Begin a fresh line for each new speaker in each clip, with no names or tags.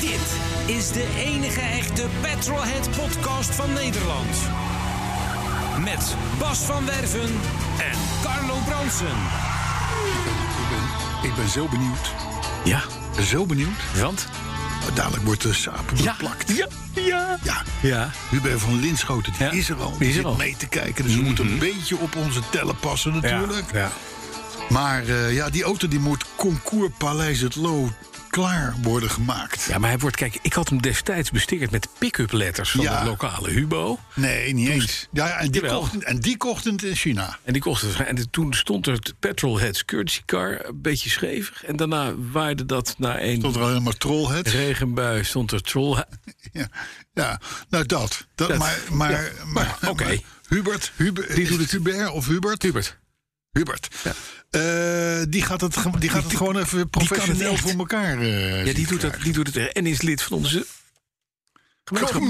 Dit is de enige echte Petrolhead podcast van Nederland. Met Bas van Werven en Carlo Bronsen.
Ik ben zo benieuwd.
Ja,
Zo benieuwd.
want?
Dadelijk wordt de saap beplakt.
Ja, ja.
Ja.
Ja.
Hubert van Linschoten, die
Ja,
is er al.
die is er
zit
al. Mhm.
mee te kijken. Dus we moeten een beetje op onze tellen passen natuurlijk.
Ja.
Maar eh, ja, die auto die moet Concours Paleis het Loo klaar worden gemaakt.
ja, maar hij wordt, kijk, ik had hem destijds bestickerd met pick-up letters van
Ja.
het lokale Hubo.
Nee, niet eens. Ja, en, die
Jawel.
kochten, en die kochten het in China.
En die kostte. En toen stond het Petrolheads Currency Car een beetje schevig. En daarna waarde dat na een
Stond er alleen maar trollheads.
regenbui, stond er troll.
Ja, ja, nou dat. dat,
Dat,
maar, maar,
ja, maar, oké.
maar Hubert, Hubert, die doet het Hubert of Hubert?
Hubert.
Hubert.
Ja.
Eh, die gaat het, ge- die gaat het gewoon even professioneel
echt.
voor elkaar. eh,
Ja,
zien
die doet,
krijgen.
dat, die doet het er. En is lid van onze. gemeenschap.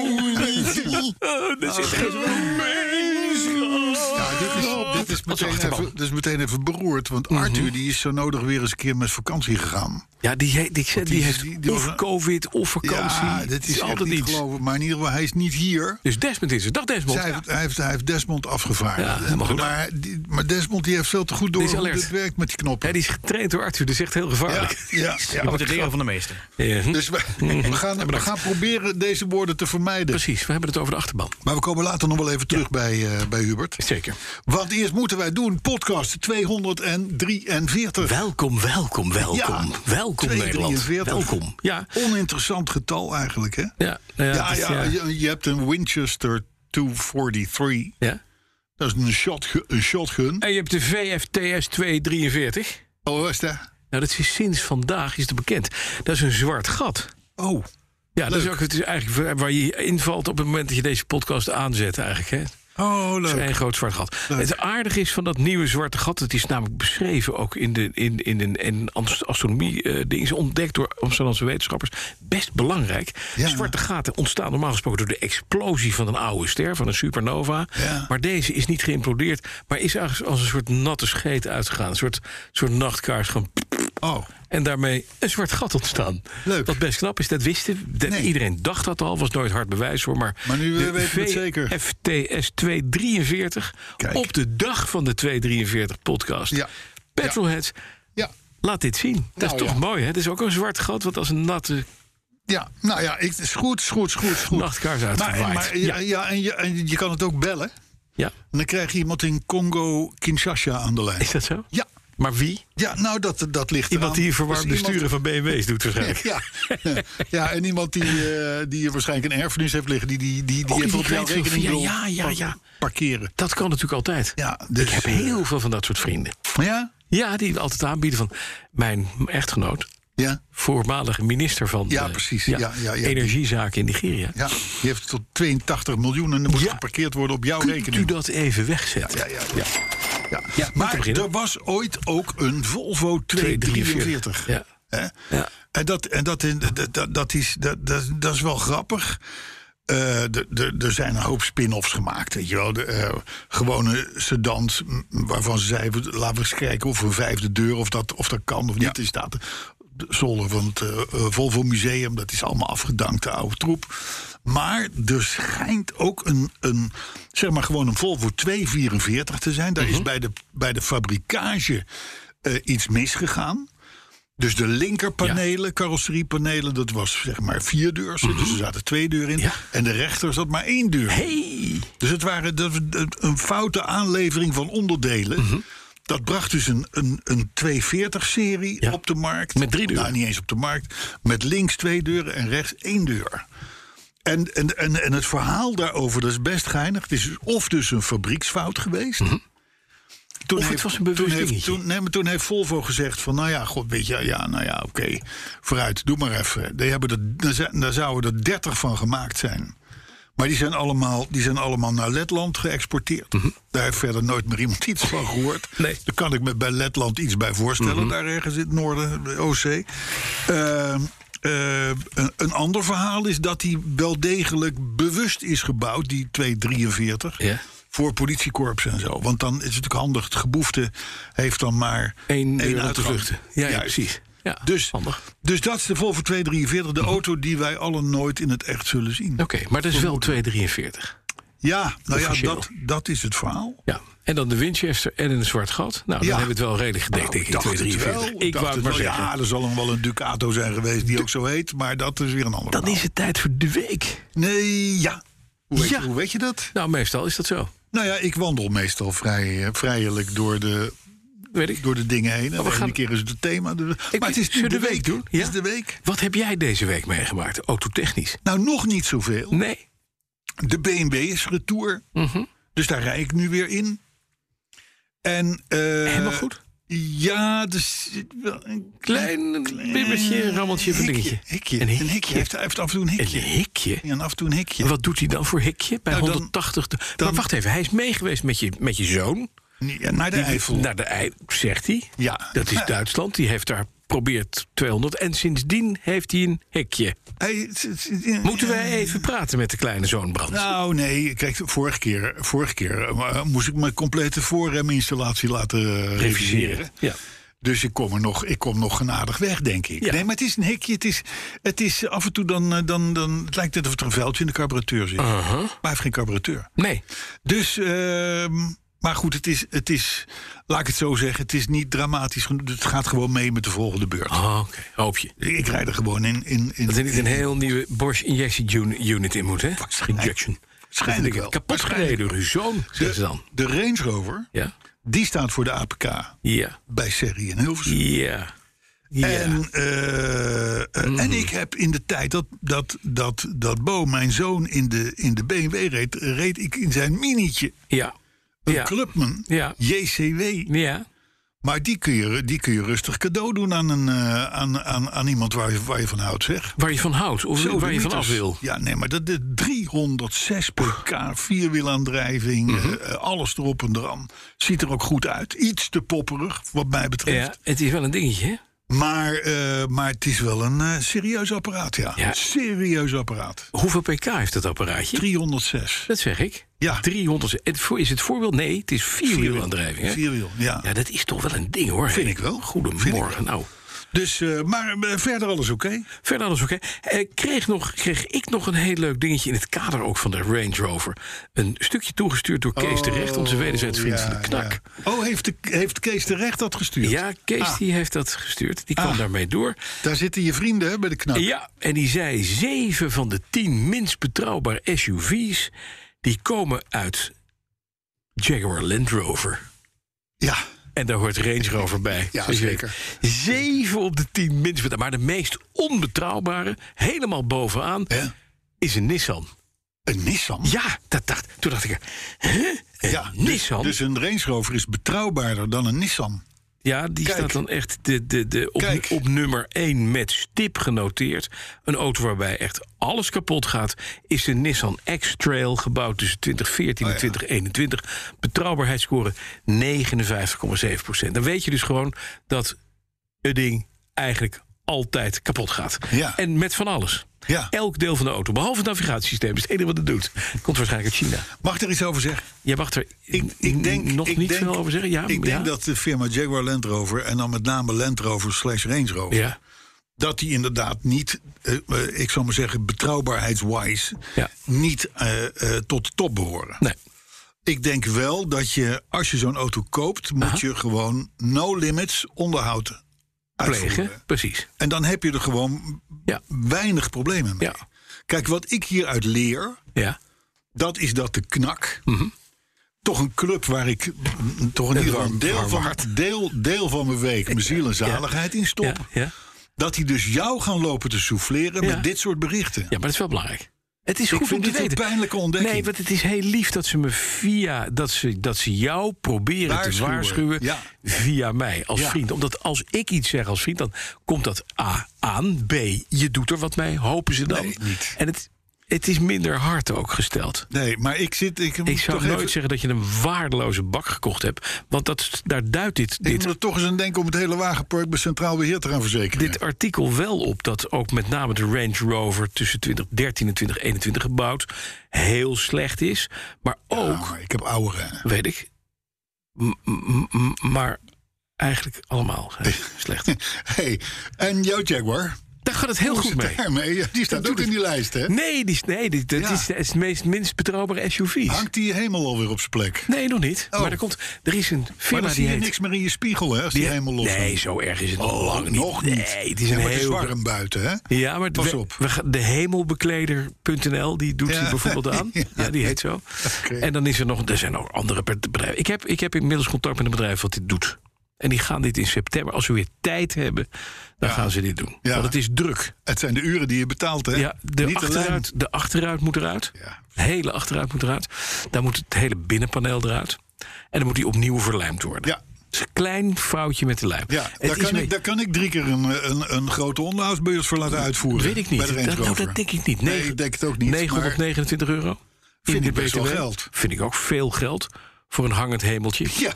Oh,
Ah,
daar zit geen gemeenschap.
Ja, dit is, dit is,
Oh. Wat een
meteen,
achterban. Mhm.
even, dit is meteen even beroerd. Want Arthur die is zo nodig weer eens een keer met vakantie gegaan.
Ja, die, he- die, die,
die-
heeft
die- die
of
was een-
COVID of vakantie.
Ja,
Het
dit is echt
altijd
niet
iets.
geloven. Maar in ieder geval, hij is niet hier.
Dus Desmond is het. Dag Desmond.
Zij
Ja.
heeft, hij, heeft, hij heeft Desmond
Ja,
afgevaardigd.
helemaal goed.
maar, die- maar Desmond die heeft veel te goed door
Die is
hoe
alert.
het werkt met die
Hè,
knoppen.
die is getraind door Arthur. Dat is echt heel gevaarlijk.
ja, ja, ja.
wordt het leren van de meester. Ja. hm.
Dus we, we, gaan, we gaan proberen deze woorden te vermijden.
Precies, we hebben het over de achterban.
Maar we komen later nog wel even terug bij, eh, bij Hubert.
Zeker.
Want eerst moeten wij doen podcast 243.
Welkom, welkom, welkom.
Ja.
welkom Nederland.
243.
Welkom. Ja.
Oninteressant getal eigenlijk, hè?
Ja, nou
Ja,
het is,
ja, Je, je hebt een Winchester 243.
ja.
Dat is een, shotgu- een shotgun.
En je hebt de VFTS 243.
Oh, waar is dat?
Nou, dat is sinds vandaag is het bekend. Dat is een zwart gat.
Oh,
Ja, dat is
Leuk.
ook het is eigenlijk waar- waar je invalt op het moment dat je deze podcast aanzet eigenlijk. Hè?
oh
Het is
leuk.
één groot zwart gat. Het aardige is van dat nieuwe zwarte gat, het is namelijk beschreven ook in, de, in, in een in astronomie-ding, is ontdekt door Amsterdamse wetenschappers. Best belangrijk.
Ja.
Zwarte gaten ontstaan normaal gesproken door de explosie van een oude ster, van een supernova.
Ja.
Maar deze is niet geïmplodeerd, maar is eigenlijk als een soort natte scheet uitgegaan. Een soort, soort nachtkaars. Gewoon
Oh,
en daarmee een zwart gat ontstaan.
Leuk.
Wat best knap is, dat wisten we. Dat-
Nee.
Iedereen dacht dat al, was nooit hard bewijs voor. Maar,
Maar nu, eh, weten we het zeker.
FTS 243,
Kijk.
op de dag van de 243 podcast.
Ja.
Petrolheads,
ja.
laat dit zien. Dat
Nou,
is toch
ja.
mooi, hè? Dat is ook een zwart gat, wat als een natte
Ja, nou ja, ik, is goed, is goed, is goed, is goed.
nachtkaars
Maar,
uitgewaaid.
maar, ja,
ja.
ja, en, je, en je kan het ook bellen.
ja,
En dan krijg je iemand in Congo-Kinshasa aan de lijn.
is dat zo?
Ja,
Maar wie?
ja nou, dat, dat ligt
Iemand
eraan.
die
Dus
verwarmde
iemand-
sturen van BMW's doet waarschijnlijk.
Ja. ja, en iemand die, eh, die waarschijnlijk een erfenis heeft liggen... die, die, die, die
Oh, die
heeft op jouw
kwijt wil.
rekening
Ja,
wil
ja, ja,
par-
ja.
parkeren.
Dat kan natuurlijk altijd.
Ja, dus,
Ik heb heel veel van dat soort vrienden.
Ja?
Ja, die altijd aanbieden van mijn echtgenoot.
Ja,
voormalige minister van
Ja,
eh,
precies. Ja, ja, ja.
energiezaken in Nigeria.
ja. Die heeft tot 82 miljoen en dan moet
Ja.
geparkeerd worden op jouw
Kunt u
rekening.
dat even wegzetten?
Ja, ja, ja. Ja.
Ja, moet
maar
beginnen.
er was ooit ook een Volvo 243.
Ja.
Hè?
Ja.
En, dat, en dat, in- dat, dat, dat, is, dat, dat, dat is wel grappig. Eh, de- de- er zijn een hoop spin-offs gemaakt. Weet je wel. De, eh, gewone sedans m, waarvan ze zeiden... laten we eens kijken of een vijfde deur... of dat, of dat kan of niet. Er staat de zolder van het eh, eh, Volvo Museum. Dat is allemaal afgedankte oude troep. Maar er schijnt ook een, een, zeg maar gewoon een Volvo 244 te zijn. Daar is bij de, bij de fabrikage eh, iets misgegaan. Dus de linkerpanelen, carrosseriepanelen, dat was zeg maar vier deurs. Dus er zaten twee deuren in.
Mhm. Ja.
En de rechter zat maar één deur.
Hey,
Dus het waren dat- dat- een foute aanlevering van onderdelen.
Mhm.
Dat bracht dus een, een, een 240-serie
Ja.
op de markt.
Met drie deuren.
Nou, niet eens op de markt. Met links twee deuren en rechts één deur. En, en, en, en dus
Mhm.
het verhaal daarover, dat is best geinig. Het is of dus een fabrieksfout geweest...
Toen of het was een bewust
toen heeft,
dingetje.
toen, nee, maar toen heeft Volvo gezegd van, nou ja, god, weet je, ja, nou ja, oké, vooruit, doe maar even. Die hebben er, daar zijn- daar zouden er 30 van gemaakt zijn. Maar die zijn allemaal, die zijn allemaal naar Letland geëxporteerd. Daar heeft verder nooit meer iemand iets van gehoord.
Mhm. Nee. Mhm.
Daar kan ik me bij Letland iets bij voorstellen, daar ergens in het noorden, de Oostzee. Ehm, eh, een, een ander verhaal is dat die wel degelijk bewust is gebouwd, die 243
Ja.
voor politiekorps en zo. Want dan is het natuurlijk handig. Het geboefte heeft dan maar
Eén deur om te
uitgang.
vluchten. Ja, ja,
Juist.
precies. Ja,
dus,
handig. Mhm.
dus dat is de Volvo 243, de auto die wij allen nooit in het echt zullen zien.
Oké, maar dat is wel 243.
Ja, nou ja,
Officieel.
dat, dat is het verhaal.
Ja. En dan de Winchester en een zwart gat. Nou, dan
Ja. Nou,
hebben we het wel redelijk gedekt, denk ik.
dacht het
243.
wel.
Ik
dacht
wou het
het
maar
wel.
zeggen.
Ja, er zal hem wel een Ducato zijn geweest die ook zo heet. Maar dat is weer een ander
Dan
verhaal.
is het tijd voor de week.
Nee, ja. Hoe weet,
Ja.
hoe weet je dat?
Nou, meestal is dat zo.
Nou ja, ik wandel meestal vrij, eh, vrijelijk door de,
Weet ik.
door de dingen heen. En
Nou, we
de ene
gaan-
keer is het het thema. de- maar het is
Zullen
de,
we
week.
doen?
Het
Ja?
is de week.
Wat heb jij deze week meegemaakt, autotechnisch?
Nou, nog niet zoveel.
Nee.
De BMW is retour.
Mhm.
Dus daar rij ik nu weer in. En, eh,
Helemaal goed?
Ja, dus zit wel een Eh,
Klein bibbertje, een rammeltje of een dingetje.
Hikje.
Een
Een
hikje.
hikje. Hij heeft, hij heeft af en toe een
Een
hikje.
hikje?
En af en toe een hikje.
En Wat doet hij dan voor hikje? Bij
Nou, dan-
180. de-
dan-
maar wacht even, hij is meegeweest met je, met je zoon.
Ja, naar de
Die- nou.
Eifel.
Naar de Eifel, zegt hij.
Ja.
Dat is
Ja.
Duitsland. Die heeft daar probeert 200. En sindsdien heeft hij een hikje.
Hij- het- het- het-
Moeten wij even praten met de kleine zoon Brand?
Nou, nee. Kijk, vorige keer, vorige keer eh, moest ik mijn complete voorreminstallatie laten eh, reviseren.
Ja.
Dus ik kom, er nog, ik kom nog genadig weg, denk ik.
Ja.
Nee, maar het is een hikje. Het is, het is af en toe dan, eh, dan, dan... Het lijkt net of er een vuiltje in de carburateur zit.
Uh-huh.
Maar hij heeft geen carburateur.
Nee.
Dus, ehm, maar goed, het is, het is... Laat ik het zo zeggen, het is niet dramatisch. genoeg. Het gaat gewoon mee met de volgende beurt.
Oh, oké. Hoop je.
Ik rijd er gewoon in... in, in
Dat er niet een heel nieuwe Bosch injection unit in moet, hè? Injection.
Waarschijnlijk
Dat ik
wel.
Kapot gereden door uw zoon, zeggen
de,
ze dan.
de Range Rover,
Ja.
die staat voor de APK
Ja.
bij Serrie en Hilversum.
Ja. Ja. Mm.
En, eh, eh, en ik heb in de tijd dat, dat, dat, dat Bo, mijn zoon, in de, in de BMW reed... reed ik in zijn minietje,
ja.
een
ja.
Clubman,
Ja.
JCW.
Ja.
Maar die kun, je, die kun je rustig cadeau doen aan, een, eh, aan, aan, aan iemand waar je, waar je van houdt, zeg.
Waar je van houdt of
Zo,
waar
de
je van af
liters.
wil.
Ja, nee, maar dat is 306 pk, vierwielaandrijving,
Mhm.
eh, eh, alles erop en eraan. Ziet er ook goed uit. Iets te popperig, wat mij betreft.
Ja, het is wel een dingetje, hè?
Maar, eh, maar het is wel een eh, serieus apparaat, ja.
Ja.
Serieus apparaat.
Hoeveel pk heeft dat apparaatje?
306.
Dat zeg ik.
Ja.
300. Het voor- Is het voorbeeld? Nee, het is vierwielaandrijving. hè?
Vierwiel, ja.
Ja, dat is toch wel een ding hoor.
Vind
hè?
ik wel. Vind ik
Goedemorgen. Nou,
Dus, eh, maar eh, verder alles oké.
verder alles oké. Eh, kreeg, nog, kreeg ik nog een heel leuk dingetje in het kader ook van de Range Rover. Een stukje toegestuurd door Kees de Recht, onze wederzijds vriend van de Knak.
Oh, ja. Oh, heeft, de, heeft Kees de Recht dat gestuurd?
Ja, Kees die heeft dat gestuurd. Die kwam
Ah.
daarmee door.
Daar zitten je vrienden hè, bij de knak.
Ja, en die zei: zeven van de tien minst betrouwbare SUV's die komen uit Jaguar Land Rover.
Ja.
En daar hoort Range Rover bij.
Ja,
Zoals je weet. Zeven op de tien minst betrouwbare. Maar de meest onbetrouwbare, helemaal bovenaan,
Hè?
is een Nissan.
Een Nissan.
Ja, dat dacht, toen dacht ik: hè? Een
Ja, dus-
Nissan?
Dus een Range Rover is betrouwbaarder dan een Nissan.
Ja, die
Kijk.
staat dan echt de, de, de op,
Kijk.
op nummer 1 met stip genoteerd. Een auto waarbij echt alles kapot gaat, is de Nissan X-Trail, gebouwd tussen 2014 en 2021. Betrouwbaarheidsscore 59,7 Dan weet je dus gewoon dat het ding eigenlijk altijd kapot gaat.
Ja.
En met van alles.
Ja.
Elk deel van de auto, behalve het navigatiesysteem, is het enige wat het doet. Komt waarschijnlijk uit China.
Mag ik er iets over zeggen?
Jij mag er
Ik, ik denk,
nog
ik
niet
denk-
veel over zeggen. Ja,
ik denk
ja?
dat de firma Jaguar Land Rover... en dan met name Land Rover slash Range Rover...
Ja.
dat die inderdaad niet, eh, eh, ik zou maar zeggen... betrouwbaarheidswise,
Ja.
niet eh, eh, tot de top behoren.
Nee.
Ik denk wel dat je, als je zo'n auto koopt... moet je gewoon no limits onderhoud uitvoeren.
Plegen, precies.
En dan heb je er gewoon
Ja.
weinig problemen mee.
Ja.
Kijk, wat ik hieruit leer...
Ja.
dat is dat de knak.
Mhm.
Toch een club waar ik mm, toch in ieder geval een
warm-
deel
warm
van,
hart.
deel, deel van mijn week, mijn ziel en zaligheid in stop.
Ja, ja.
Dat die dus jou gaan lopen te souffleren
Ja.
met dit soort berichten.
ja, maar dat is wel belangrijk. Het is
Ik
goed
vind
om te
dit een
weten.
pijnlijke ontdekking.
Nee, want het is heel lief dat ze me via dat ze, dat ze jou proberen
Waarschuwen,
te waarschuwen
ja.
via mij als
Ja.
vriend. Omdat als ik iets zeg als vriend, dan komt dat A aan. B, je doet er wat mee, hopen ze dan.
Nee, niet.
En het, het is minder hard ook gesteld.
Nee, maar ik zit. Ik, moet
Ik zou
toch
nooit
even,
zeggen dat je een waardeloze bak gekocht hebt. Want dat, daar duidt dit,
ik
dit
moet er toch eens aan denken om het hele wagenpark bij Centraal Beheer te gaan verzekeren.
dit artikel wel op dat ook met name de Range Rover tussen 2013 en 2021 gebouwd heel slecht is. Maar ook,
Ja, maar Nou, ik heb ouderen.
weet ik, m- m- m- maar eigenlijk allemaal hè, slecht.
hey, en jouw Jaguar?
Daar gaat het heel
Hoe
goed
zit
mee.
daarmee? Ja, die staat
Dat
ook
doet
in die lijst, hè?
Nee, die, is- nee dit, dat
Ja.
is, het is de meest, minst betrouwbare SUV's.
Hangt die hemel alweer op zijn plek?
Nee, nog niet.
Oh.
Maar er, komt, er is een
Maar
firma
dan
die
zie je
heet...
niks meer in je spiegel, hè? Als die,
die-
hemel los
nee,
is.
zo erg is het nog
Oh,
lang niet.
nog niet.
Nee, het is
Ja,
een
maar het is
heel...
warm buiten, hè?
Ja, maar
Pas
we-
op.
we gaan- de hemelbekleder.nl, die doet
Ja.
zich bijvoorbeeld aan.
Ja.
Ja. die heet zo.
Oké.
En dan is er nog, er zijn ook andere be- bedrijven. Ik heb, ik heb inmiddels contact met een bedrijf wat dit doet. En die gaan dit in september, als we weer tijd hebben, dan gaan ze dit doen.
Ja.
Want het is druk.
Het zijn de uren die je betaalt, hè?
Ja, de,
Niet de lijn.
achteruit, de achteruit moet eruit.
Ja.
De hele achteruit moet eruit. Daar moet het hele binnenpaneel eruit. En dan moet die opnieuw verlijmd worden.
Ja.
Het is een klein foutje met de lijm.
Ja,
Het
daar
is
kan,
mee-
ik, daar kan ik drie keer een, eh, een, een grote onderhoudsbeurs voor laten uitvoeren.
Weet ik niet.
Bij de Range
dat, nou,
Rover.
dat denk ik niet.
Nee,
Negen-
ik denk het ook niet,
929 euro.
Vind
de
ik best wel
BTW.
geld.
Vind ik ook veel geld voor een hangend hemeltje.
Ja,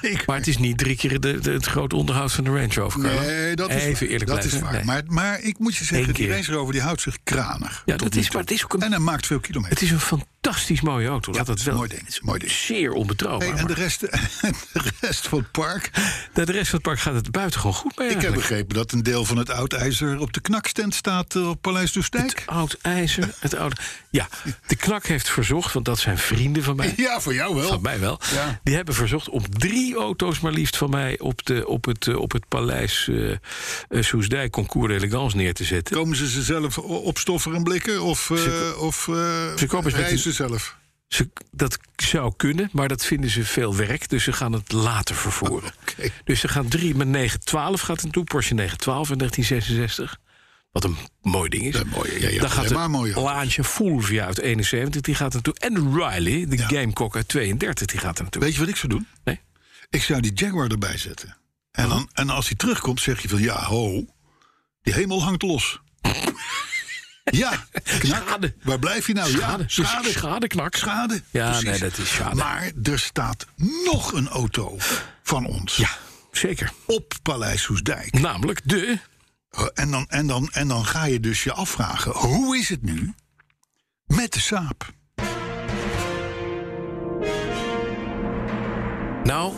zeker.
Maar het is niet drie keer de, de- het groot onderhoud van de Range Rover. Carlo.
nee, dat is
Even
waar.
eerlijk
dat
blijven.
is waar.
Nee.
Maar, maar ik moet je zeggen,
Eén
die
keer.
Range Rover die houdt zich kranig.
ja,
tot
dat
nu
is,
toe.
maar het is ook een,
En hij maakt veel kilometer.
het is een fantastisch mooie auto. Laat dat wel.
Mooi ding, mooi ding.
Zeer onbetrouwbaar.
Hey, en de
maar
rest, de rest van het park.
de, rest van het park gaat het buitengewoon goed mee.
Ik heb
eigenlijk.
begrepen dat een deel van het oudijzer op de knakstand staat eh, op Paleis Doestijk.
Oud ijzer, het oude. Ja, de knak heeft verzocht, want dat zijn vrienden van mij.
Ja, voor jou wel.
Van mij wel.
Ja.
Die hebben verzocht om drie auto's maar liefst van mij op, de, op, het, eh, op het paleis eh eh, Soesdijk Concours d'Elegance neer te zetten.
Komen ze ze zelf o- opstoffen en blikken? Of, eh, of eh,
kopen ze met
rijden ze
een-
zelf?
Ze, dat zou kunnen, maar dat vinden ze veel werk, dus ze gaan het later vervoeren.
Oké.
Dus ze gaan drie met 912 gaat er naartoe, Porsche 912 in 1966. Wat een mooi ding is.
Dat is mooi, ja, ja,
Dan gaat
alleen maar mooi,
de
hoor.
Laantje Fulvia uit 71, die gaat er naartoe. En de Riley, de
Ja.
Gamecock uit 32, die gaat er naartoe.
Weet je wat ik zou doen?
Nee?
Ik zou die Jaguar erbij zetten. En, dan, en als hij terugkomt, zeg je van ja, ho, die hemel hangt los. ja, knak.
Schade.
Waar blijf je nou?
Schade.
Ja, schade.
Schade, knak.
Schade.
Ja,
precies.
nee, dat is schade.
Maar er staat nog een auto van ons
Ja, zeker.
op Paleis Hoesdijk.
Namelijk de...
En dan, en, dan, en dan ga je dus je afvragen: hoe is het nu met de saap?
Nou,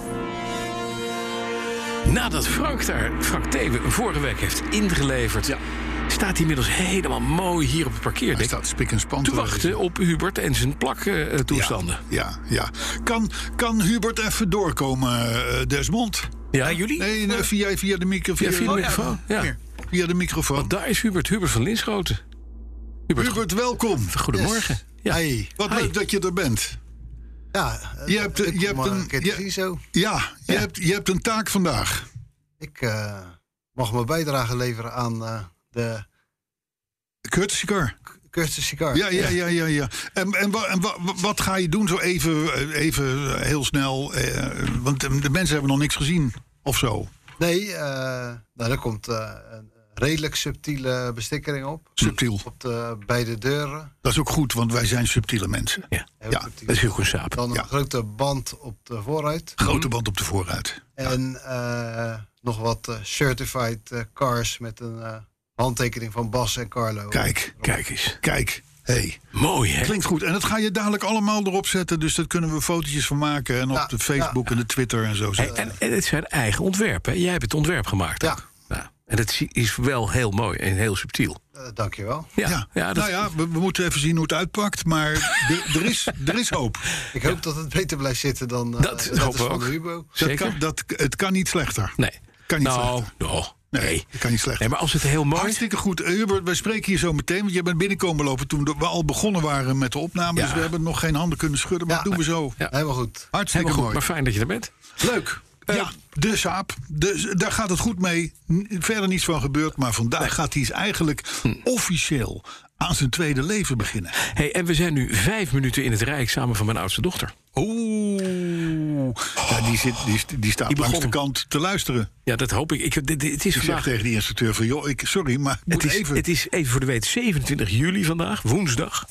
nadat Frank daar, Frank Thewe, vorige week heeft ingeleverd... staat hij inmiddels helemaal mooi hier op
Hij
het parkeerdek...
staat spik en span
te
lezen.
wachten op Hubert en zijn plaktoestanden.
Ja, ja. Kan, kan Hubert even doorkomen, eh, Desmond?
ja. jullie?
Nee, nee, via, via de micro,
Ja, via de
oh,
microfoon, ja.
Hier, Via de microfoon.
Daar is Hubert, Hubert van Linschoten. Hubert,
Hubert, welkom.
goedemorgen.
Yes.
Ja.
Hey, wat
Hi.
leuk dat je er bent.
Ja, eh,
Je hebt, eh,
ik
je
kom,
hebt
eh,
een-
een keer te
je-
zien zo.
Ja, je, Hebt, je hebt een taak vandaag.
Ik eh, mag mijn bijdrage leveren aan eh, de
Courtesy car.
Curtis Car.
Ja, ja, ja, ja. ja. En, en, wa- en wa- wa- wat ga je doen zo even, eh, even heel snel? eh, want eh, de mensen hebben nog niks gezien of zo.
Nee, eh nou, daar komt eh, een redelijk subtiele bestikkering op.
Subtiel.
Op de beide deuren.
Dat is ook goed, want wij zijn subtiele mensen.
Ja,
Heel
Ja, dus-
subtiel.
dat is heel goed saap.
Dan een
ja.
grote band op de vooruit.
Grote band op de vooruit.
En eh, nog wat eh, certified eh, cars met een eh, handtekening van Bas en Carlo.
Kijk,
Kijk eens.
kijk. Hey.
Mooi, hè?
Klinkt goed. En dat ga je dadelijk allemaal erop zetten. Dus daar kunnen we fotootjes van maken. En op
Ja,
de Facebook en de Twitter en zo.
Hey, en, en het zijn eigen ontwerpen. hè? Jij hebt het ontwerp gemaakt.
Ja.
ook. Ja. En dat zie- is wel heel mooi en heel subtiel.
Eh, dankjewel.
Ja, ja. dat,
nou ja, we, we moeten even zien hoe het uitpakt. Maar de- er, is, er is hoop.
Ik hoop dat het beter blijft zitten dan eh,
Dat
de letters
hopen we
van de
ook.
Hubo.
Dat
Zeker?
kan, dat, het kan niet slechter.
Nee.
Kan niet
nou, nou, nee.
Nee, het kan niet slechter.
Nee, maar als het heel mooi is.
Hartstikke goed. Eh, Hubert, wij spreken hier zo meteen. Want jij bent binnenkomen lopen toen we al begonnen waren met de opname.
Ja.
Dus we hebben nog geen handen kunnen schudden. Maar
Ja.
dat doen we zo.
Ja.
Helemaal goed.
Hartstikke
Helemaal goed,
mooi.
maar fijn dat je er bent.
Leuk. Eh, ja, de Saab. Dus daar gaat het goed mee. N- Verder niets van gebeurd. Maar vandaag gaat hij eens eigenlijk officieel aan zijn tweede leven beginnen.
Hey, en we zijn nu vijf minuten in het rijk samen van mijn oudste dochter.
Oeh. Ja, die, zit, die, st- die staat
Die
langs de
begon.
kant te luisteren.
Ja, dat hoop ik. ik dit- dit- het is
Ik zeg
vandaag.
tegen die instructeur van... joh, ik, sorry, maar ik moet
Het is,
even...
het is even voor de weet 27 juli vandaag, woensdag.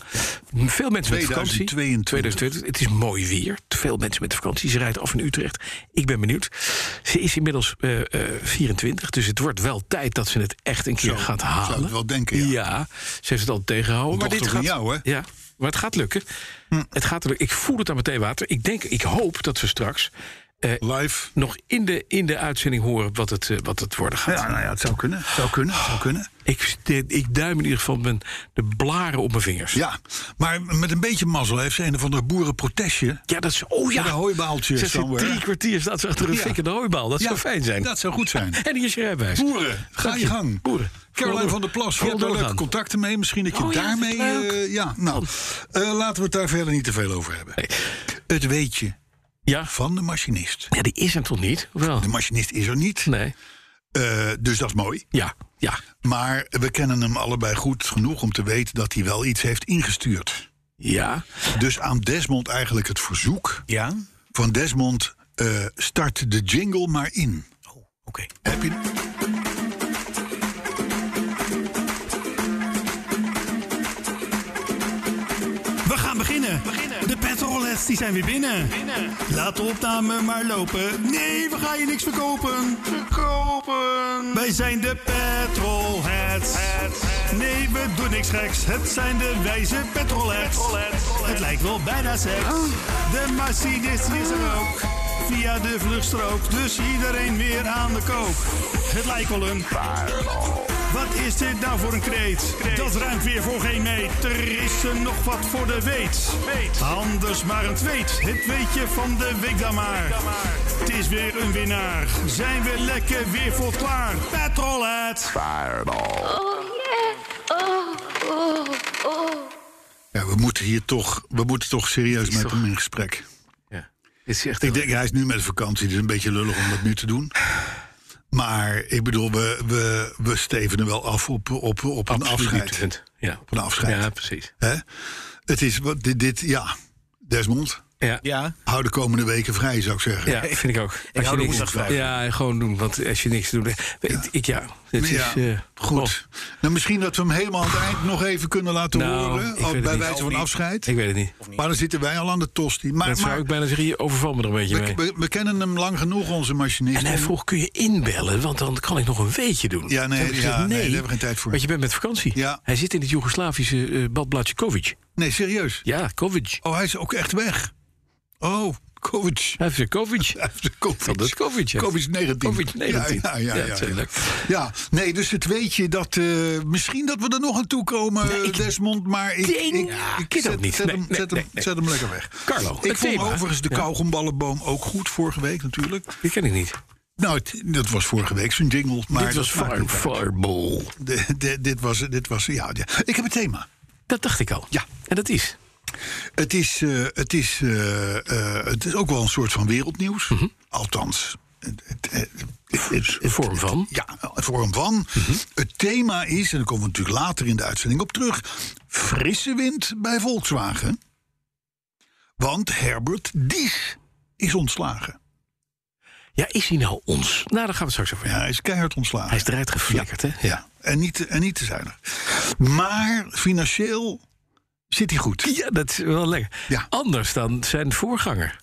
Veel mensen met
2022.
vakantie. 2022. Het is mooi weer. Veel mensen met vakantie. Ze rijdt af in Utrecht. Ik ben benieuwd. Ze is inmiddels eh, eh, 24, dus het wordt wel tijd dat ze het echt een keer
Zo,
gaat
zou
halen.
ik wel denken, ja.
ze heeft het al tegengehouden. Maar dit
dochter
gaat,
van jou, hè? Hm.
Ja, maar het gaat lukken. Het gaat lukken. Ik voel het aan meteen water. Ik denk, ik hoop dat we straks
Live.
nog in de, in de uitzending horen wat het, eh, wat het worden gaat.
Ja, nou ja, het zou kunnen. Het zou kunnen, het zou kunnen.
Ik, de- ik duim in ieder geval mijn, de blaren op mijn vingers.
Ja, maar met een beetje mazzel heeft ze een of ander boerenprotestje...
Ja, dat is. Oh ja.
Met een hooibaaltje
Ze zit
somewhere.
drie kwartier staat ze achter een
Ja.
fikkende hooibaal. Dat zou
Ja,
fijn zijn.
Dat zou goed zijn.
En hier is je rijbewijs.
Boeren, ga
Dank
je gang.
Boeren.
Caroline
Vooral
van
door-
der Plas, je
vooral
hebt daar leuke
doorgaan.
contacten mee. Misschien dat je
Oh ja,
daarmee...
leuk.
eh, ja, nou, eh, laten we het daar verder niet te veel over hebben.
Nee.
Het weetje
Ja.
van de machinist.
ja, die is hem toch niet? Of Wel.
De machinist is er niet,
Nee.
eh, dus dat is mooi.
Ja. Ja.
Maar we kennen hem allebei goed genoeg om te weten dat hij wel iets heeft ingestuurd.
Ja.
Dus aan Desmond eigenlijk het verzoek
Ja. Oké.
van Desmond... eh, start de jingle maar in. Heb je...
We gaan beginnen. De petrolheads die zijn weer binnen. Laat de opname maar lopen. Nee, we gaan je niks verkopen. Verkopen. Wij zijn de petrolheads. Nee, we doen niks geks. Het zijn de wijze petrolheads. Oh. Het lijkt wel bijna seks. De machinist is er ook. Via de vluchtstrook, dus iedereen weer aan de kook. Het lijkt wel een wat is dit nou voor een kreet? Dat ruimt weer voor geen meter. Is er nog wat voor de weet? Anders maar een tweet. Het weetje van de week dan maar. Het is weer een winnaar. Zijn we lekker weer voor klaar? Petrolhead!
Oh yeah. Oh, oh, oh.
Ja, we moeten hier toch, we moeten toch serieus met hem in gesprek.
Ja. Dit is echt.
Ik denk, hij is nu met vakantie, dus een beetje lullig om dat nu te doen. Maar ik bedoel, we, we, we stevenen wel af op, op, op een
absoluut
afscheid.
niet. Ja.
Op een afscheid.
Ja, precies.
Hè? Het is, wat- dit, dit, ja, Desmond,
Ja.
Ja,
hou de komende weken vrij, zou ik zeggen.
Ja, vind ik ook. Als
hou de
niks-
woensdag vrij.
Ja, gewoon doen. Want als je niks doet. Ik, ik- ja, het
Ja,
is. eh,
goed. Nou, misschien dat we hem helemaal aan het eind nog even kunnen laten
Nou, ik
horen.
weet
Al,
het
bij
niet.
wijze van afscheid.
oh, ik weet het niet.
Maar dan zitten wij al aan de tosti. Maar,
Dat
maar
zou ik bijna zeggen. Je overvalt me er een beetje
we,
mee.
we- we kennen hem lang genoeg, onze machinist.
En hij vroeg, kun je inbellen? Want dan kan ik nog een weetje doen.
Ja, nee,
Toen heb ik
ja, nee, daar hebben we geen tijd voor.
Want je bent met vakantie.
Ja.
Hij zit in het Joegoslavische eh, badblaadje Kovic.
Nee, serieus.
Ja, Kovic.
Oh, hij is ook echt weg. Oh, coach.
Hij heeft een Kovic.
Covid.
Dat is Kovic, hè?
Covid 19.
COVID-19.
Ja, ja, ja.
Ja,
ja, ja,
tuurlijk.
Ja, nee, dus het weet je dat eh, misschien dat we er nog aan toe komen,
Nee, ik
Desmond. Maar ik,
denk- Ja, ik weet
zet,
dat niet.
zet
Nee,
hem,
nee,
zet, hem,
nee, nee.
zet hem lekker weg.
Carlo,
ik
het
vond
thema.
overigens de
Ja.
kauwgomballenboom ook goed vorige week natuurlijk.
Die ken ik niet.
Nou, het- dat was vorige week zijn jingle. Maar
Dit was
dat maakt
fire,
niet uit.
Fireball.
De- de- dit was, dit was, ja, ja. Ik heb een thema.
Dat dacht ik al.
Ja.
En dat is?
Het is, eh, het, is, eh, eh, het is ook wel een soort van wereldnieuws. Althans. Het, het- het- het- het-
Mhm. Een vorm van? Mhm.
ja, een vorm van. Het thema is, en daar komen we natuurlijk later in de uitzending op terug... frisse wind bij Volkswagen. Want Herbert Dies is ontslagen.
Ja, is hij nou ons? Nou, daar gaan we het straks
Ja,
over hebben.
hij is keihard ontslagen.
Hij is eruit geflikkerd, hè?
ja. En, niet, te- en niet te zuinig. Maar financieel zit hij goed.
Ja, dat is wel lekker.
Ja.
Anders dan zijn voorganger.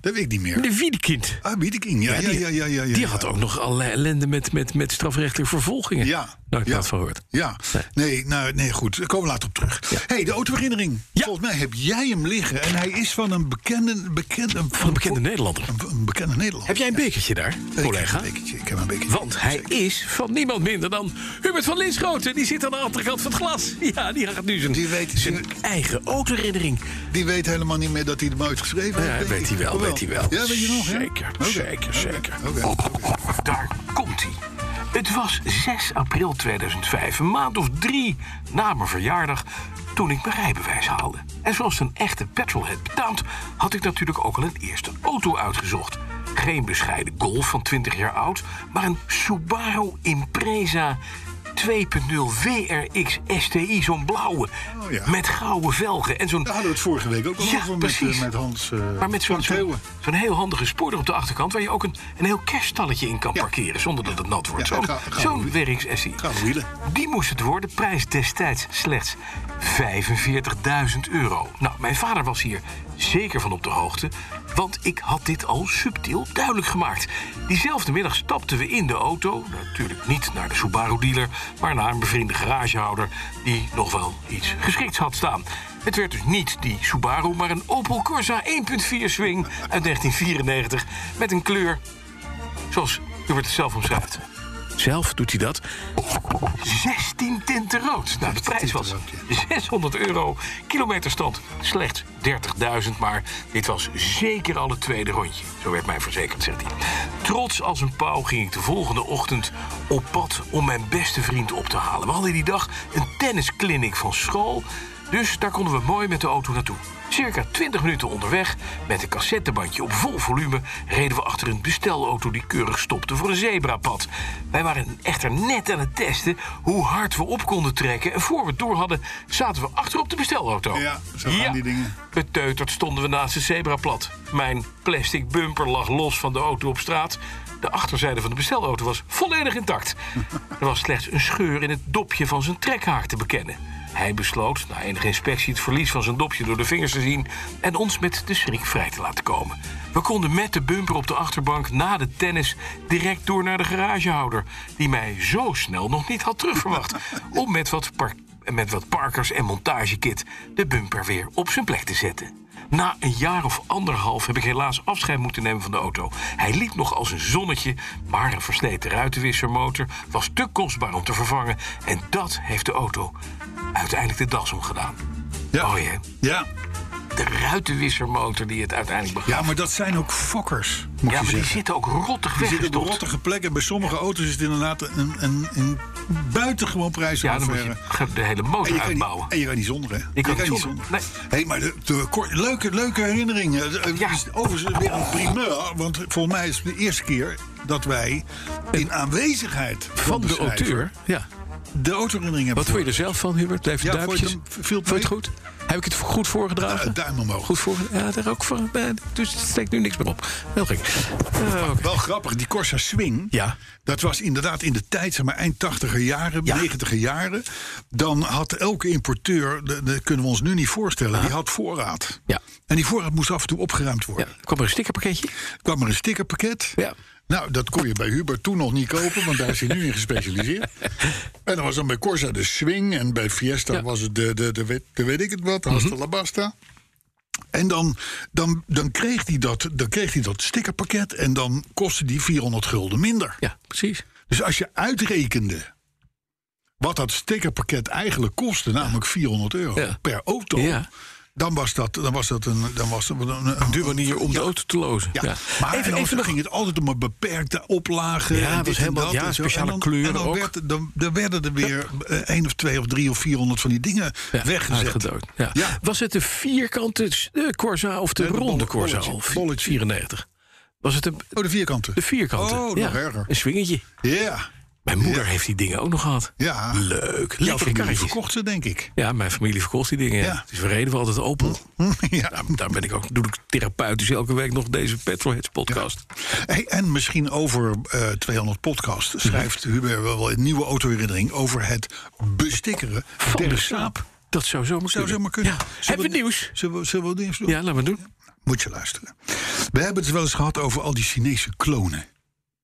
Dat weet ik niet meer.
De Wiedekind.
Ah, Wiedeking. Ja, ja,
die-
ja, ja, ja, ja,
Die
ja.
had ook nog allerlei ellende met, met, met strafrechtelijke vervolgingen.
Ja.
Nou, ik
Ja.
had het van gehoord.
Ja, nee, nou, nee goed, daar komen we later op terug. hey, de autoherinnering. Volgens mij heb jij hem liggen en hij is van een bekende... bekende
Van een bekende Nederlander.
Een, een bekende Nederlander.
Heb jij een bekertje daar,
Ik heb
collega?
een bekertje, Ik heb een bekertje.
Want hij is van niemand minder dan Hubert van Linschoten. Die zit aan de andere kant van het glas. Ja, die gaat nu zijn,
Die weet-
zijn
die-
eigen autoherinnering.
Die weet helemaal niet meer dat hij hem uitgeschreven
Ja,
heeft. denk
weet
ik.
hij wel,
Of
weet hij wel.
Ja, weet je nog? hè?
Zeker,
Oké,
zeker,
oké,
zeker.
oké.
Daar komt hij. Het was 6 april 2005, een maand of drie na mijn verjaardag, toen ik mijn rijbewijs haalde. En zoals een echte petrolhead betaamt, had ik natuurlijk ook al een eerste auto uitgezocht. Geen bescheiden Golf van 20 jaar oud, maar een Subaru Impreza 2.0 WRX STI, zo'n blauwe,
Oh ja.
met gouden velgen en zo'n
Daar hadden we het vorige week ook al
Ja,
over met,
precies.
eh, met Hans. eh,
maar met zo'n
van
zo'n
Theeuwen.
zo'n heel handige spoorder op de achterkant... waar je ook een, een heel kerststalletje in kan
Ja.
parkeren... zonder dat het nat wordt.
Ja,
Zo'n
ga- ga-
zo'n werkingssessie.
Gouden wielen.
Die moest het worden. Prijs destijds slechts 45.000 euro. Nou, mijn vader was hier zeker van op de hoogte... want ik had dit al subtiel duidelijk gemaakt. Diezelfde middag stapten we in de auto... natuurlijk niet naar de Subaru-dealer... maar naar een bevriende garagehouder... die nog wel iets geschikts had staan... Het werd dus niet die Subaru, maar een Opel Corsa 1.4 Swing uit 1994 met een kleur zoals Hubert het zelf omschrijft. Zelf doet hij dat. 16 tinten rood. Nou, de prijs was 600 euro. Kilometerstand slechts 30.000. Maar dit was zeker al het tweede rondje. Zo werd mij verzekerd, zegt hij. Trots als een pauw ging ik de volgende ochtend op pad om mijn beste vriend op te halen. We hadden die dag een tennisclinic van school. Dus daar konden we mooi met de auto naartoe. Circa 20 minuten onderweg, met een cassettebandje op vol volume, reden we achter een bestelauto die keurig stopte voor een zebrapad. Wij waren echter net aan het testen hoe hard we op konden trekken. En voor we het door hadden, zaten we achter op de bestelauto.
Ja, zo gaan die dingen.
Beteuterd stonden we naast de zebraplat. Mijn plastic bumper lag los van de auto op straat. De achterzijde van de bestelauto was volledig intact. Er was slechts een scheur in het dopje van zijn trekhaak te bekennen. Hij besloot na enige inspectie het verlies van zijn dopje door de vingers te zien en ons met de schrik vrij te laten komen. We konden met de bumper op de achterbank na de tennis direct door naar de garagehouder, die mij zo snel nog niet had terugverwacht, om met wat park met wat parkers en montagekit de bumper weer op zijn plek te zetten. Na een jaar of anderhalf heb ik helaas afscheid moeten nemen van de auto. Hij liep nog als een zonnetje, maar een versleten ruitenwissermotor was te kostbaar om te vervangen. En dat heeft de auto uiteindelijk de das omgedaan.
Ja.
Oh ja,
Ja.
de ruitenwissermotor die het uiteindelijk begaf.
ja, maar dat zijn ook fokkers, moet
Ja,
je
maar die
zeggen.
zitten ook rottig
Die zitten op
weggestopt.
rottige plekken. Bij sommige auto's is het inderdaad een, een, een buitengewoon prijs
Ja, dan moet je de hele motor
eh, En je, kan niet,
uitbouwen.
en je kan niet zonder, hè?
kan
je
niet
niet
zonder.
Hey, maar de, de kor- leuke, leuke herinnering. Eh, eh,
Ja.
is Overigens weer een primeur. Want volgens mij is het de eerste keer dat wij in aanwezigheid van,
Van de
schrijver
auteur. Ja.
de autoherinnering hebben.
Wat vond je er zelf van, Hubert? Even
Ja,
duimpjes.
vond je het- viel het
Vond je het
mee?
goed? Heb ik het goed voorgedragen?
Eh, duim omhoog.
Goed voor. Ja, daar ook voor. eh, Dus het steekt nu niks meer op. Heel gek. Eh, oké.
Wel grappig, die Corsa Swing.
Ja.
Dat was inderdaad in de tijd, zeg maar eind 80er jaren, 90er jaren. Dan had elke importeur, de- dat kunnen we ons nu niet voorstellen, die had voorraad.
Ja.
En die voorraad moest af en toe opgeruimd
Ja,
worden.
kwam er een stickerpakketje?
Kwam er een stickerpakket.
Ja.
Nou, dat kon je bij Hubert toen nog niet kopen, want daar is hij nu in gespecialiseerd. En dan was dan bij Corsa de Swing en bij Fiesta
Ja. Mhm.
was het de, de, de, weet- de weet ik het wat, Hasta la Basta. En dan, dan, dan, kreeg hij dat, dan kreeg hij dat stickerpakket en dan kostte die 400 gulden minder.
Ja, precies.
Dus als je uitrekende wat dat stickerpakket eigenlijk kostte, namelijk 400 euro
Ja.
per auto,
Ja.
dan was dat, dan was dat een, dan was dat een, een, een
Duur manier om de auto te lozen.
ja. Maar even, even ging het altijd om een beperkte oplage.
Ja, het
en
was
dit en
helemaal-
dat
ja,
en zo.
speciale
en dan,
kleuren
En dan,
ook.
Werd, dan, dan werden er weer eh, één of twee of drie of vierhonderd van die dingen
Ja,
weggezet.
uitgedood. Ja.
Ja.
Was het de vierkante eh, Corsa of de
Nee, de
ronde
bolle-
Corsa?
bolletje,
al?
bolletje.
94. Was het de,
Oh, de vierkanten.
de vierkante?
Oh, nog
ja.
erger.
Een swingetje.
Ja.
Mijn moeder heeft die dingen ook nog gehad.
Ja.
Leuk.
Jouw
Lekkere
familie
karretjes.
verkocht ze, denk ik.
Ja, mijn familie verkocht die dingen. ja.
Ja. Mm,
Dus we reden wel altijd Opel.
ja.
Daar ben ik ook, doe ik therapeutisch elke week nog deze Petrolheads podcast.
Hey, en misschien over eh, 200 podcast
Mhm.
schrijft Hubert wel een nieuwe autoherinnering over het bestikkeren
Van de
der
saap.
saap.
Dat zou zomaar
Zou
kunnen.
zomaar kunnen.
Ja.
Zullen
Hebben we nieuws?
Zullen we, zullen we wat nieuws doen?
Ja, laten we doen.
Moet je luisteren. We hebben het wel eens gehad over al die Chinese klonen.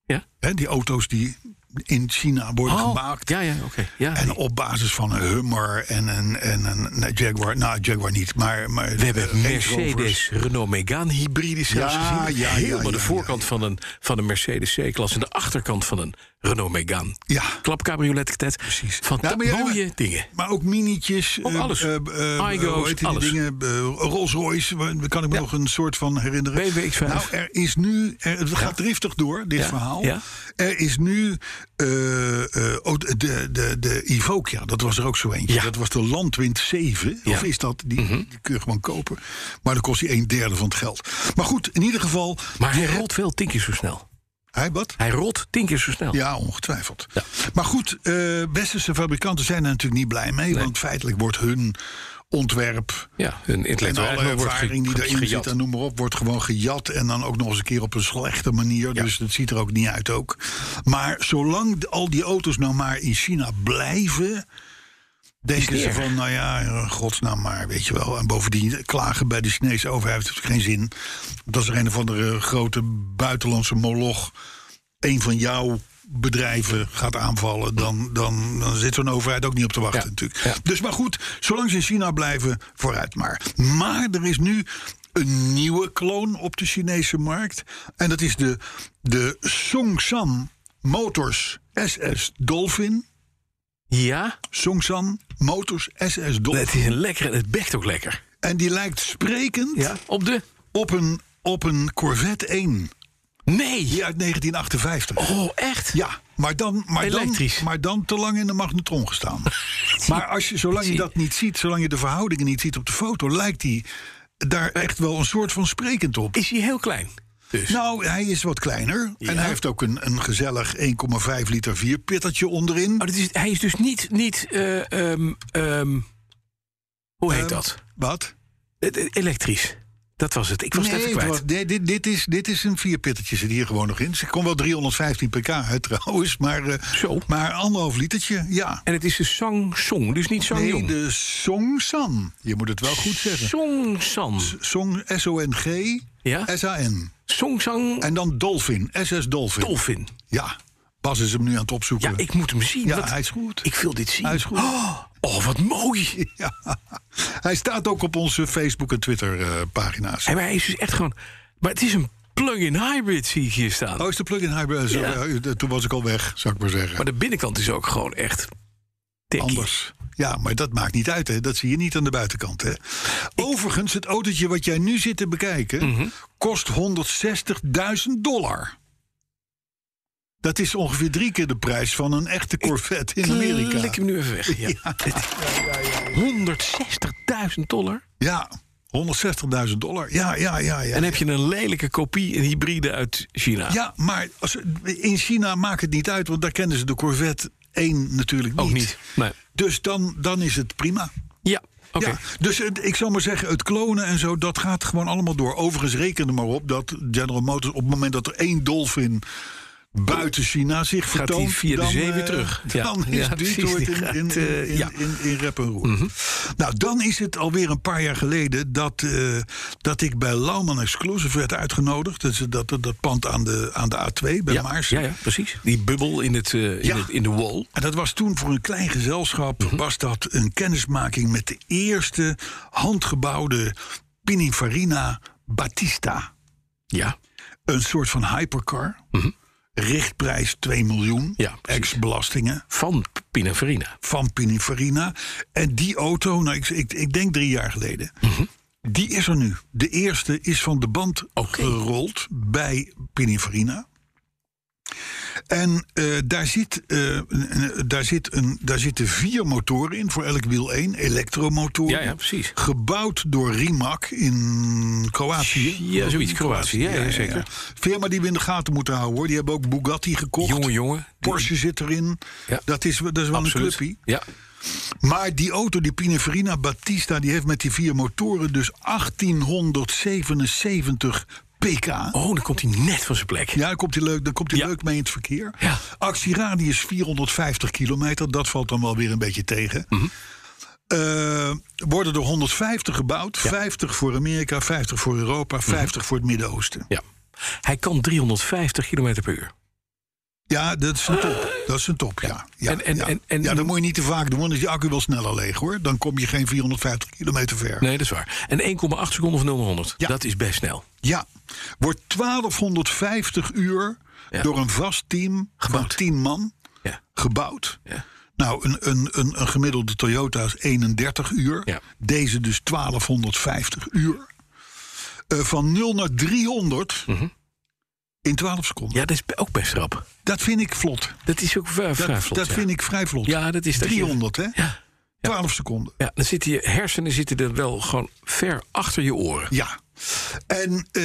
Ja.
Hè, die auto's die in China worden gemaakt.
Oh. ja, ja, oké. Ja.
En op basis van een Hummer en een, en een nee, Jaguar. Nou, Jaguar niet, maar... maar
We hebben
eh, Range Rovers.
Mercedes Renault Megane hybride zelfs
Ja,
gezien.
ja, ja,
Helemaal
ja,
de
ja,
voorkant Van, een, van een Mercedes C-klasse en de achterkant van een Renault Megane.
Ja.
Klapcabriolet tet. Precies. Van
Ja, maar ja,
mooie
maar-
dingen.
Maar ook minietjes.
Ook
eh,
alles.
eh, eh,
Igo's,
hoe heet die
alles.
dingen? Eh, Rolls Royce, waar- daar kan ik me
Ja.
nog een soort van herinneren.
BMW X5.
Nou, er is nu... er- het gaat driftig door, dit
Ja,
verhaal.
ja.
Er is nu eh, eh, oh, de, de, de Ivokia, dat was er ook zo eentje.
Ja.
Dat was de Landwind 7. Of is dat? Die,
Mhm.
die kun je gewoon kopen. Maar dan kost hij een derde van het geld. Maar goed, in ieder geval.
Maar hij rolt wel tien keer zo snel.
Hij wat?
Hij rolt tien keer zo snel.
Ja, ongetwijfeld. Maar goed, eh, westerse fabrikanten zijn er natuurlijk niet blij mee. Want feitelijk wordt hun ontwerp
Ja, een
en
intellectueel
alle
eigendom wordt ge-
ervaring die
ge-
daarin
gejat.
zit en noem maar op, wordt gewoon gejat. En dan ook nog eens een keer op een slechte manier. Dus dat ziet er ook niet uit ook. Maar zolang d- al die auto's nou maar in China blijven... Denken ze
erg.
van, nou ja, in godsnaam maar, weet je wel. En bovendien, klagen bij de Chinese overheid heeft geen zin. Dat is er een of andere grote buitenlandse moloch... een van jouw bedrijven gaat aanvallen... dan, dan, dan zit zo'n overheid ook niet op te wachten
Ja.
natuurlijk.
Ja.
Dus maar goed, zolang ze in China blijven, vooruit maar. Maar er is nu een nieuwe kloon op de Chinese markt. En dat is de, de Songshan Motors SS Dolphin.
Ja,
Songshan Motors SS
het
Dolphin.
is een lekkere, het bekt ook lekker.
En die lijkt sprekend
Ja, op de...
op, een, op een Corvette 1.
Nee!
Die uit 1958.
Oh, echt?
Ja, maar dan, maar, dan,
Elektrisch.
maar dan te lang in de magnetron gestaan. maar als je, zolang je
Zie-
dat niet ziet, zolang je de verhoudingen niet ziet op de foto, lijkt hij daar echt wel een soort van sprekend op.
Is hij heel klein? Dus.
Nou, hij is wat kleiner. En hij heeft ook een, een gezellig 1,5 liter vierpittertje onderin.
Oh, dit is, hij is dus niet... niet eh, ehm, ehm, hoe heet
Ehm,
dat?
Wat?
Eh, eh, elektrisch. Dat was het. Ik was het even
het
kwijt.
was- nee, dit, dit, is, dit is een vierpittertje, zit hier gewoon nog in. Ze kon wel 315 pk uit trouwens, maar, eh,
Zo.
maar anderhalf litertje, ja.
En het is de Sang Song, dus niet Sang
Nee,
Yong.
de Songsan. Je moet het wel goed zeggen.
Song San.
Song, S-O-N-G,
Ja?
S-A-N.
Song Sang
En dan Dolphin, SS Dolphin.
Dolphin.
Ja, Bas is hem nu aan het opzoeken.
Ja, ik moet hem zien.
Ja,
want
hij is goed.
Ik wil dit zien.
Hij is goed.
Oh, oh, wat mooi.
Ja. Hij staat ook op onze Facebook- en eh, Twitter-pagina's.
En maar hij is dus echt gewoon... Maar het is een plug-in hybrid, zie ik hier staan.
oh, is de plug-in hybrid? Zo,
Ja.
eh, Toen was ik al weg, zou ik maar zeggen.
Maar de binnenkant is ook gewoon echt... Tikkie.
Anders. Ja, maar dat maakt niet uit, hè. Dat zie je niet aan de buitenkant, hè. Overigens, het autootje wat jij nu zit te bekijken...
Mhm.
kost 160.000 dollar. Dat is ongeveer drie keer de prijs van een echte Corvette in Amerika.
Lik hem nu even weg. Ja. Dit- 160.000 dollar.
Ja, 160.000 dollar. Ja, ja, ja, ja.
En heb je een lelijke kopie, een hybride uit China.
Ja, maar als, in China maakt het niet uit, want daar kennen ze de Corvette 1 natuurlijk niet.
Ook niet. Nee.
Dus dan, dan is het prima.
Ja, oké.
Ja, dus het- ik zou maar zeggen, het klonen en zo, dat gaat gewoon allemaal door. Overigens reken er maar op dat General Motors op het moment dat er één dolfin buiten China zich
Gaat
vertoont...
die via de
dan,
zee
eh,
weer terug. Ja.
Dan is
Ja, precies,
Detroit
die
in, in,
gaat, eh,
in,
ja. Mhm.
in, in rep en roer. Nou, dan is het alweer een paar jaar geleden dat, eh, dat ik bij Lauman Exclusive werd uitgenodigd. Dat, is dat, dat, dat pand aan de, aan de A2 bij
ja,
Maars.
ja, ja, precies. Die bubbel in, het, eh, in,
Ja.
het- in de wall.
En dat was toen voor een klein gezelschap,
Mhm.
was dat een kennismaking met de eerste handgebouwde Pininfarina Battista.
Ja.
Een soort van hypercar. Richtprijs 2 miljoen,
Mhm. Ja, precies.
ex-belastingen
Van Pininfarina.
van Pininfarina. En die auto, nou, ik, ik, ik denk drie jaar geleden,
Mhm.
die is er nu. De eerste is van de band gerold bij Pininfarina. En eh, daar, zit, eh, een- een- daar, zit een, daar zitten vier motoren in, voor elk wiel één, elektromotoren.
Ja, ja, precies.
Gebouwd door Rimac in Kroatië.
Ja, zoiets. Kroatië. Ja, ja, zeker.
Firma die we in de gaten moeten houden hoor. Die hebben ook Bugatti gekocht.
Jongen, jongen. Die-
Porsche zit erin.
Ja.
Dat, is, dat is wel een
Absoluut.
clubpie.
Ja.
Maar die auto, die Pininfarina Battista, die heeft met die vier motoren dus 1877 pk.
Oh, dan komt hij net van zijn plek.
Ja, daar komt hij leuk, daar komt hij
Ja.
leuk mee in het verkeer.
Ja.
Actieradius 450 kilometer, dat valt dan wel weer een beetje tegen.
Mhm.
Eh, worden er 150 gebouwd, 50 voor Amerika, 50 voor Europa, 50 voor het Midden-Oosten.
Mhm. Ja. Hij kan 350 km per uur.
Ja, dat is een top. Dat is een top, ja. Ja,
En- en-
ja.
en- en-
ja dat moet je niet te vaak doen, want dan is die accu wel sneller leeg hoor. Dan kom je geen 450 kilometer ver.
Nee, dat is waar. En 1,8 seconden van 0 naar 100.
Ja.
Dat is best snel.
Ja, wordt 1250 uur
Ja.
door een vast team van
Gebouwd.
10 man
Ja.
gebouwd.
Ja.
Nou, een, een, een, een gemiddelde Toyota is 31 uur.
Ja.
Deze dus 1250 uur. Eh, van 0 naar 300 in 12 seconden.
Mhm. Ja, dat is ook best rap.
Dat vind ik vlot.
Dat is ook vrij
Dat,
vrij vlot.
dat
ja.
vind ik vrij vlot.
Ja, dat is dat je-
300, hè?
Ja,
12 seconden.
ja dan zitten je hersenen zitten er wel gewoon ver achter je oren.
Ja. En eh,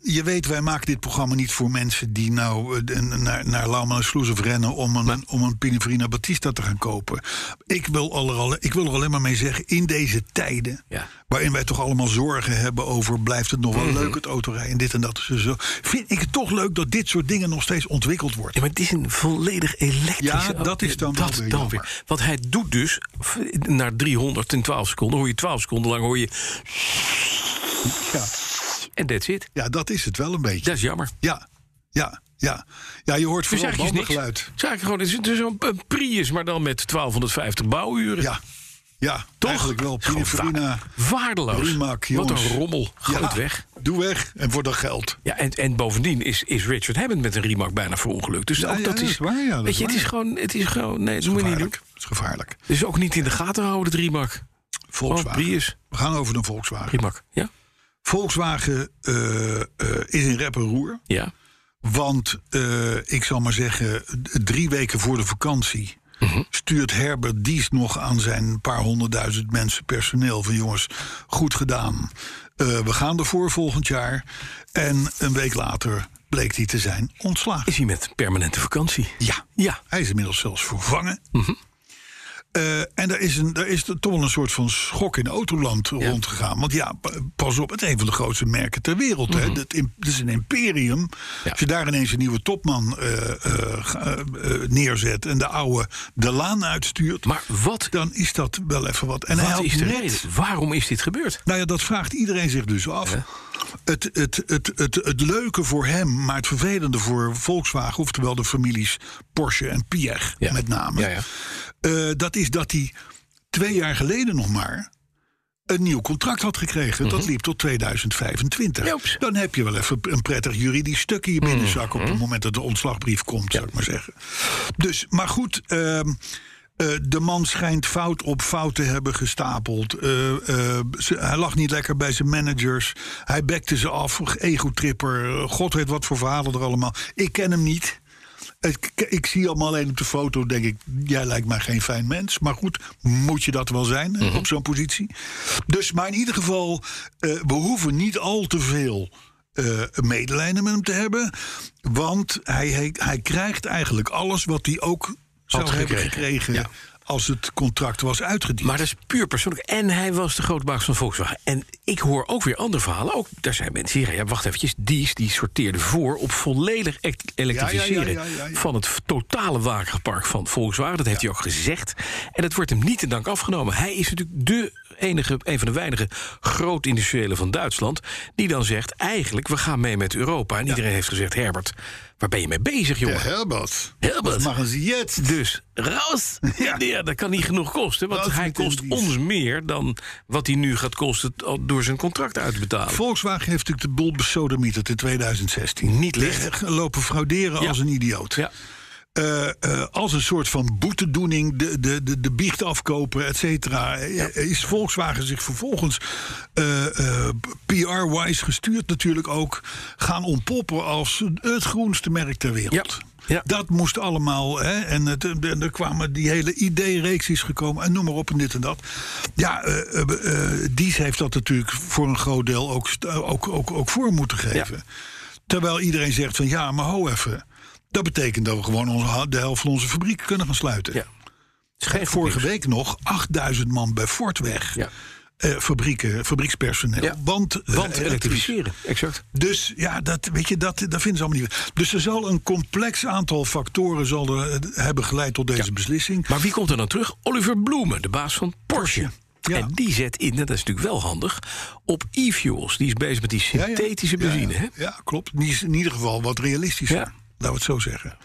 je weet, wij maken dit programma niet voor mensen die nou eh, de- naar, naar Lauman en Sloeshof rennen om een, om een Pininfarina Batista te gaan kopen. Ik wil, al- er alle- ik wil er alleen maar mee zeggen, in deze tijden,
Ja. Mhm.
waarin wij toch allemaal zorgen hebben over blijft het nog wel leuk het autorijden en dit en dat. en Zo, vind ik het toch leuk dat dit soort dingen nog steeds ontwikkeld wordt.
Ja, maar het is een volledig elektrische...
Ja,
auto.
dat is dan wel weer jammer.
Want hij doet dus, f- naar 300 in 12 seconden... hoor je 12 seconden lang, hoor je...
Ja,
En that's it.
ja dat is het wel een beetje.
Dat is jammer.
Ja, ja, ja. Ja, je hoort
Dus
vooral
eigenlijk is niks. Het
bandengeluid.
is eigenlijk gewoon het is- het is zo'n een Prius, maar dan met 1250 bouwuren.
Ja, ja.
Toch?
Eigenlijk wel.
Gewoon
Pininfarina.
wa- waardeloos.
Rimac,
Wat
jongens.
een rommel. Gooi
Ja,
het weg.
Doe weg en voor dat geld.
Ja, en, en bovendien is, is Richard Hammond met een Rimac bijna verongelukt. Dus
Ja,
ook
ja,
dat,
dat
is,
is waar, ja, dat
weet
is
je, het
waar.
is gewoon... Het is gewoon nee, dat moet je niet doen.
Gevaarlijk. Dat is gevaarlijk.
Dus ook niet in de gaten houden, het Rimac.
Volkswagen.
Oh, Prius.
We gaan over naar Volkswagen.
Rimac, ja?
Volkswagen eh, eh, is in rep en roer.
Ja.
Want eh, ik zal maar zeggen, d- drie weken voor de vakantie.
Mhm.
Stuurt Herbert Dies nog aan zijn paar honderdduizend mensen personeel. Van jongens, goed gedaan. Eh, we gaan ervoor volgend jaar. En een week later bleek hij te zijn ontslagen.
Is hij met permanente vakantie?
Ja.
Ja.
Hij is inmiddels zelfs vervangen.
Mhm.
Eh, en daar is, een, daar is toch wel een soort van schok in autoland rondgegaan. Want ja, pa- pas op, het is een van de grootste merken ter wereld. hè. Dat, im- dat is een imperium.
Mhm. Ja.
Als je daar ineens een nieuwe topman eh, eh, ga- eh, neerzet... en de oude de laan uitstuurt,
Maar wat,
dan is dat wel even wat. En hij
wat
had
is de
net-
reden? Waarom is dit gebeurd?
nou ja, dat vraagt iedereen zich dus af. Het, het, het, het, het leuke voor hem, maar het vervelende voor Volkswagen, oftewel de families Porsche en Piëch
Ja.
met name,
Ja, ja.
eh, dat is dat hij twee jaar geleden nog maar een nieuw contract had gekregen. Dat liep tot 2025.
Joeps.
Dan heb je wel even een prettig juridisch stuk in je binnenzak... op het moment dat de ontslagbrief komt, zou ik maar zeggen. Dus, maar goed, ehm, eh, de man schijnt fout op fout te hebben gestapeld. Eh, eh, ze- hij lag niet lekker bij zijn managers. Hij bekte ze af, egotripper. God weet wat voor verhalen er allemaal. Ik ken hem niet. Ik, ik- ik zie hem alleen op de foto, denk ik, jij lijkt mij geen fijn mens. Maar goed, moet je dat wel zijn hè,
Mhm.
op zo'n positie? Dus, maar in ieder geval, eh, we hoeven niet al te veel eh, medelijden met hem te hebben. Want hij, hij, hij krijgt eigenlijk alles wat hij ook zou hebben
gekregen,
gekregen...
ja.
als het contract was uitgediend.
Maar dat is puur persoonlijk. En hij was de grootbaas van Volkswagen. En ik hoor ook weer andere verhalen. Ook daar zijn mensen hier. Ja, wacht eventjes. Dies die sorteerde voor op volledig elect- elektrificeren
ja, ja, ja, ja.
van het v- totale wagenpark van Volkswagen. Dat heeft hij ook gezegd. En dat wordt hem niet in dank afgenomen. Hij is natuurlijk de enige, een van de weinige grootindustriëlen van Duitsland die dan zegt: eigenlijk we gaan mee met Europa. En iedereen heeft gezegd: Herbert, waar ben je mee bezig, jongen?
Herbert,
Herbert.
maken ze jetzt?
Dus raus! Ja. dat kan niet genoeg kosten. Want
Raus
hij
met
kost
Indies.
ons meer dan wat hij nu gaat kosten t- al door zijn contract uit te betalen.
Volkswagen heeft natuurlijk de boel besodemieterd in 2016.
Niet licht.
Eh, Lopen frauderen
Ja.
als een idioot.
ja.
eh, eh, als een soort van boetedoening de, de, de, de biecht afkopen, et cetera. eh, Is Volkswagen zich vervolgens eh, eh, PR-wise gestuurd natuurlijk ook... gaan ontpoppen als het groenste merk ter wereld.
Ja, ja.
Dat moest allemaal. Hè, en, het, en er kwamen die hele idee-reeks is gekomen. En noem maar op en dit en dat. Ja, eh, eh, eh, Dies heeft dat natuurlijk voor een groot deel ook, st- ook, ook, ook voor moeten geven. Terwijl iedereen zegt van ja, maar ho even. Dat betekent dat we gewoon onze, de helft van onze fabrieken kunnen gaan sluiten.
Ja. Het is geen
Vorige
goed
week nog 8000 man bij Ford weg.
nieuws. Ja.
Eh, fabrieken, fabriekspersoneel.
Ja.
Want, eh,
Want
elektrisch.
elektrificeren, exact.
Dus ja, dat, weet je, dat, dat vinden ze allemaal niet. Dus er zal een complex aantal factoren zal er, eh, hebben geleid tot deze beslissing.
Maar wie komt er dan terug? Oliver Bloemen, de baas van Porsche.
Ja.
En die zet in, en dat is natuurlijk wel handig, op e-fuels. Die is bezig met die
Ja, ja.
synthetische
Ja,
benzine.
ja.
Hè?
Ja, klopt. Die is in ieder geval wat realistischer.
Ja.
Laten we het zo zeggen.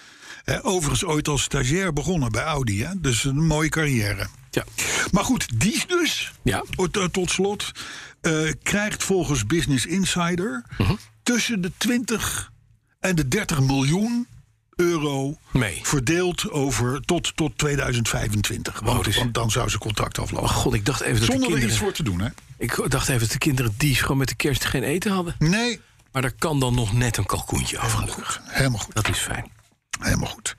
Eh, overigens ooit als stagiair begonnen bij Audi. Hè? Dus een mooie carrière.
Ja.
Maar goed, die dus,
Ja.
o- to- tot slot, eh, krijgt volgens Business Insider
Mhm.
tussen de 20 en de 30 miljoen euro
Mee.
verdeeld over tot, tot 2025. Want,
dus-
want dan zou ze contract aflopen.
Oh god, ik dacht even dat
Zonder
de
er iets
kinderen...
voor te doen, hè?
Ik dacht even dat de kinderen die gewoon met de kerst geen eten hadden.
Nee,
Maar daar kan dan nog net een kalkoentje af, gelukkig.
Helemaal goed.
Dat is fijn.
Helemaal goed.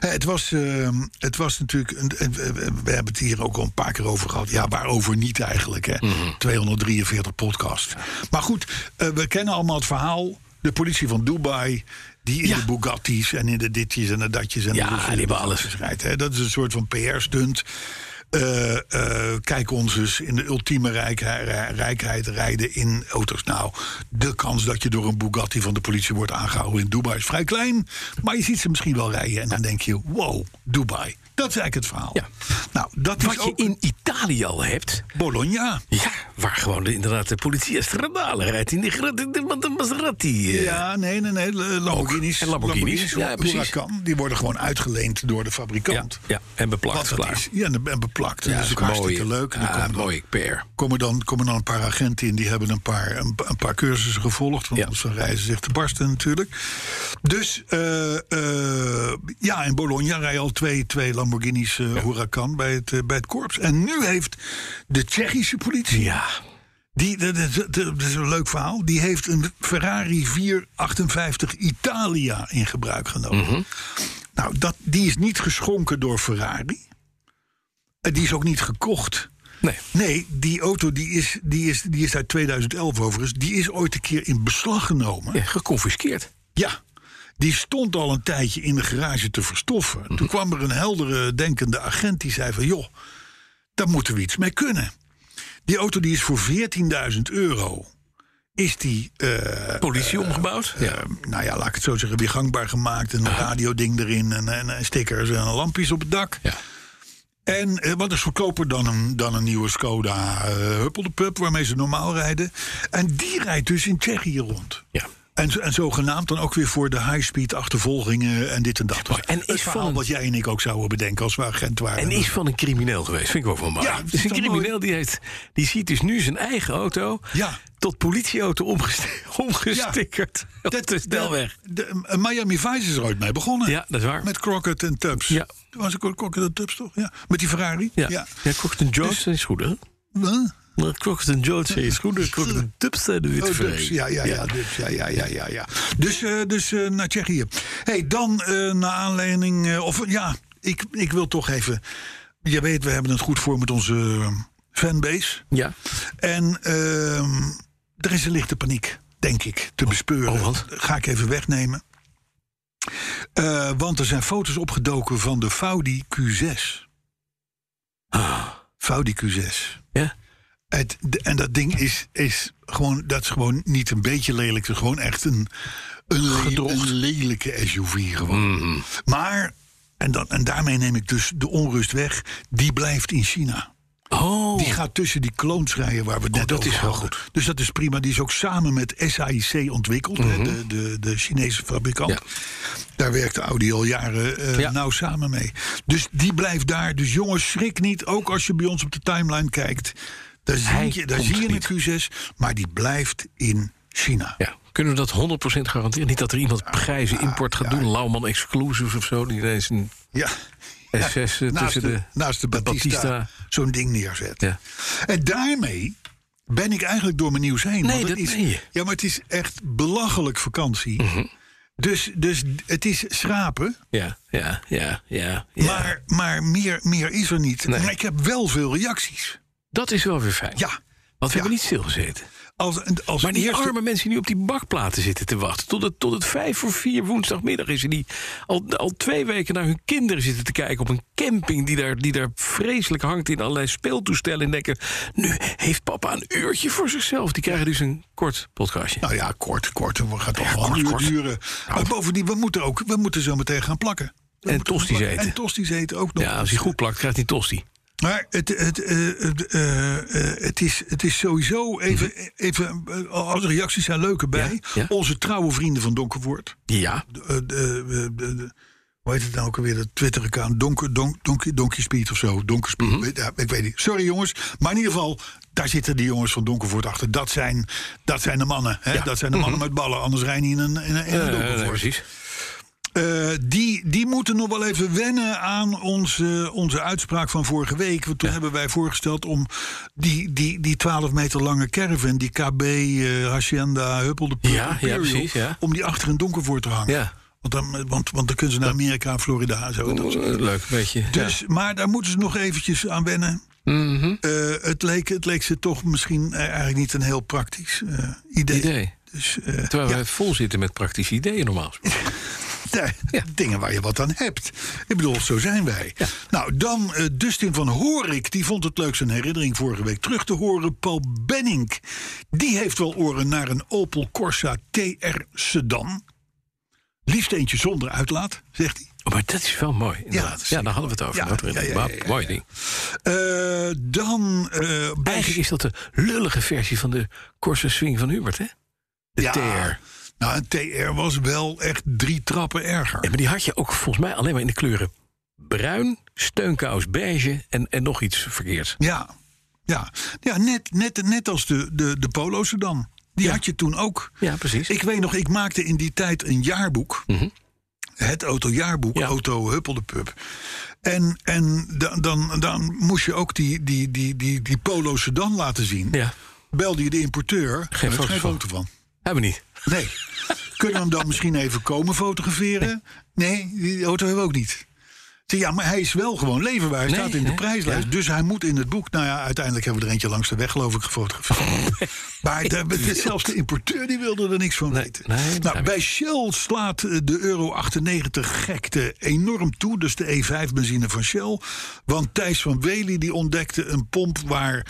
Eh, Het was, eh, het was natuurlijk. een- eh, we- we- We hebben het hier ook al een paar keer over gehad. Ja, waarover niet eigenlijk? Hè?
Mhm.
243 podcast. Maar goed, eh, we kennen allemaal het verhaal. De politie van Dubai. Die in
Ja.
de Bugatti's en in de ditjes en de datjes en
Ja,
de
die hebben alles.
rijdt, hè. Dat is een soort van PR-stunt. Eh, eh, kijk ons eens in de ultieme rijk- rij- rijkheid rijden in auto's. Nou, de kans dat je door een Bugatti van de politie wordt aangehouden in Dubai is vrij klein. Maar je ziet ze misschien wel rijden en dan denk je, wow, Dubai. Dat is eigenlijk het verhaal.
Ja.
Nou, dat is
Wat je
ook
in Italië al hebt,
Bologna.
Ja, waar gewoon de- inderdaad de politie stradalen rijdt in die gra- de, de, de Maserati. eh.
Ja, nee, nee, nee. Lamborghinis.
En Lamborghinis, ja, precies.
Huracan, die worden gewoon uitgeleend door de
ja,
fabrikant.
ja, en beplakt,
Wat dat
klaar.
is. Ja, en en beplakt.
Ja,
dat is ook hartstikke
mooi.
leuk. En dan
Ah,
komt dan-
mooi PR.
komen dan, komen dan een paar agenten in. Die hebben een paar, een, pa- een paar cursussen gevolgd. Want
Ja.
anders dan reizen zich te barsten natuurlijk. Dus eh, eh, ja, in Bologna rijden al twee, twee Lamborghinis eh, Huracan bij het, eh, bij het korps. En nu heeft de Tsjechische politie...
Ja,
Die, dat, dat- dat- dat is een leuk verhaal. Die heeft een Ferrari 458 Italia in gebruik genomen.
Mhm.
Nou, dat, die is niet geschonken door Ferrari. En die is ook niet gekocht.
nee.
Nee, die auto die is, die is, die is uit 2011 overigens. Die is ooit een keer in beslag genomen.
Ja, geconfiskeerd.
Ja, die stond al een tijdje in de garage te verstoffen. Toen kwam er een heldere denkende agent die zei van... joh, daar moeten we iets mee kunnen. Die auto die is voor 14.000 euro... is die, eh,
Politie omgebouwd. ja.
eh, nou ja, laat ik het zo zeggen, weer gangbaar gemaakt. En een radioding erin en, en, en stickers en lampjes op het dak.
Ja.
En eh, wat is goedkoper dan een, dan een nieuwe Skoda eh Huppeldepup... waarmee ze normaal rijden. En die rijdt dus in Tsjechië rond.
ja.
En, zo- en zogenaamd dan ook weer voor de high-speed achtervolgingen en dit en dat.
Maar- en
het
is
verhaal
van-
wat jij en ik ook zouden bedenken als we agent waren.
En is van een crimineel geweest, vind ik wel van mooi.
Ja, dat is
dus een
toch
crimineel die, heeft, die ziet dus nu zijn eigen auto
Ja.
tot politieauto omgeste- omgestikkerd op Oh, de snelweg.
De, de- Miami Vice is er ooit mee begonnen.
Ja, dat is waar.
Met Crockett en Tubbs.
Ja.
Dat Was ook Crockett en Tubbs toch? Ja. Met die Ferrari.
Ja, ja. Crockett en Jones is goed, hè?
Huh?
Maar Crockett en Jones is goed, en Crockett en Tubbs zijn de
Oh,
witte
Tubbs. Ja, ja, ja, Tubbs. ja, ja, ja, ja, ja. Dus, eh, dus eh, naar Tsjechië. hey, dan eh naar aanleiding... eh, of ja, ik, ik wil toch even... Je weet, we hebben het goed voor met onze eh, fanbase.
Ja.
En ehm, er is een lichte paniek, denk ik, te bespeuren.
oh, wat?
Ga ik even wegnemen. Eh, want er zijn foto's opgedoken van de Audi Q6.
Ah.
Audi Q6.
ja.
Het, de- en dat ding is, is gewoon, dat is gewoon niet een beetje lelijk. Het is gewoon echt een, een, le- een lelijke SUV. Gewoon. Maar, en, dan, en daarmee neem ik dus de onrust weg, die blijft in China.
Oh.
Die gaat tussen die clones rijden waar we het net
dat
over
is wel
hadden. Dus dat is prima. Die is ook samen met SAIC ontwikkeld, hè, de, de, de Chinese fabrikant.
Mhm. Ja.
Daar werkt Audi al jaren eh,
Ja.
nauw samen mee. Dus die blijft daar. Dus jongens, schrik niet. Ook als je bij ons op de timeline kijkt. Daar
Hij
zie je, daar
komt
zie je
niet.
een Q6, maar die blijft in China.
Ja. Kunnen we dat 100% garanderen? Niet dat er iemand prijzen import gaat doen, Lauwman Exclusives of zo, die ineens een
Ja.
S6 eh,
naast
tussen
de,
de...
naast de, Batista,
Batista.
zo'n ding neerzet.
Ja.
En daarmee ben ik eigenlijk door mijn nieuws heen.
Nee,
want het
dat
is,
meen je. Mhm.
Ja, maar het is echt belachelijk vakantie. Dus, dus het is schrapen,
Ja, ja, ja, ja. ja.
maar, maar meer, meer is er niet. Maar ik heb wel veel reacties.
dat is wel weer fijn.
Ja.
Want we
Ja.
hebben niet stilgezeten.
Als, als
Maar die
eerste-
arme mensen die nu op die bakplaten zitten te wachten... tot het, tot het vijf voor vier woensdagmiddag is... en die al, al twee weken naar hun kinderen zitten te kijken... op een camping die daar, die daar vreselijk hangt in allerlei speeltoestellen... en denken, nu heeft papa een uurtje voor zichzelf. Die krijgen dus een kort podcastje.
Nou ja, kort, kort. Het gaat toch wel een uur duren. Maar bovendien, we moeten, ook, we moeten zo meteen gaan plakken. We
En
moeten gaan
tosties
plakken.
eten.
En tosties eten ook nog.
ja, als hij goed plakt, krijgt hij tosti.
Maar het, het, eh, het, eh, eh, het, is, het is sowieso even, even eh, alle reacties zijn leuke bij.
Mhm. Ja, ja.
Onze trouwe vrienden van Donkerwoord.
Ja,
Eh, de- de- de- de- hoe heet het nou ook alweer? Dat Twitter-account. Donker, donk, donk, donkey Speed of zo. Donkerspeed.
Mhm.
ja, ik weet niet. Sorry jongens. Maar in ieder geval, daar zitten die jongens van Donkervoort achter. Dat zijn, dat zijn de mannen. Hè? Dat zijn de mannen met ballen. Anders rijden die in een, in een, in een
Mhm. Eh,
Donkervoort.
precies.
Eh, die, die moeten nog wel even wennen aan onze, onze uitspraak van vorige week. Want toen hebben wij voorgesteld om die, die, die 12 meter lange caravan, die KB eh, Hacienda Huppelde
Ja, ja, precies, ja.
om die achter een donker voor te hangen.
Ja.
Want dan, eh, want, want dan kunnen ze naar Amerika, Florida en zo. Dat is-
Leuk, weet je.
dus, Maar daar moeten ze nog eventjes aan wennen.
Mhm.
Eh, het, leek, het leek ze toch misschien eh, eigenlijk niet een heel praktisch eh, idee.
idee.
Dus eh,
Terwijl
ja,
we vol zitten met praktische ideeën normaal gesproken.
daar- eh, dingen waar je wat aan hebt. Ik bedoel, zo zijn wij. Nou, dan eh, Dustin van Horik. Die vond het leuk zijn herinnering vorige week terug te horen. Paul Benning. Die heeft wel oren naar een Opel Corsa TR Sedan. Liefst eentje zonder uitlaat, zegt hij.
Oh, maar dat is wel mooi, inderdaad.
dat
Ja,
is
daar hadden we het over.
Ja,
dat we-
ja, ja,
maar
ja, ja,
Mooi
ja.
ding.
Eh, dan eh bij
Eigenlijk is dat de lullige versie van de Corsa Swing van Hubert, hè? De
Ja.
TR.
Nou, een TR was wel echt drie trappen
Ja,
erger.
maar die had je ook volgens mij alleen maar in de kleuren bruin, steunkous beige en, en nog iets verkeerds.
Ja, ja. ja net, net, net als de, de, de Polo Sedan. Die had je toen ook.
Ja, precies.
Ik weet nog, ik maakte in die tijd een jaarboek. Het autojaarboek,
Mhm. Ja.
Auto Huppelde Pub. En, en dan, dan, dan moest je ook die, die, die, die, die Polo Sedan laten zien.
Ja,
Belde je de importeur, daar is
foto's
geen
van.
foto van.
hebben we niet.
Nee. Kunnen we hem dan misschien even komen fotograferen? Nee, die auto hebben we ook niet. Ik zeg, Ja, maar hij is wel gewoon leverbaar. Hij
Nee,
staat in de
nee,
prijslijst.
ja.
Dus hij moet in het boek. Nou ja, uiteindelijk hebben we er eentje langs de weg, geloof ik, gefotografeerd. maar de- de- zelfs de importeur die wilde er niks van weten.
nee,
nou,
begrijp
bij Shell slaat eh, de euro 98 gekte enorm toe. Dus de E5-benzine van Shell. Want Thijs van Wely die ontdekte een pomp waar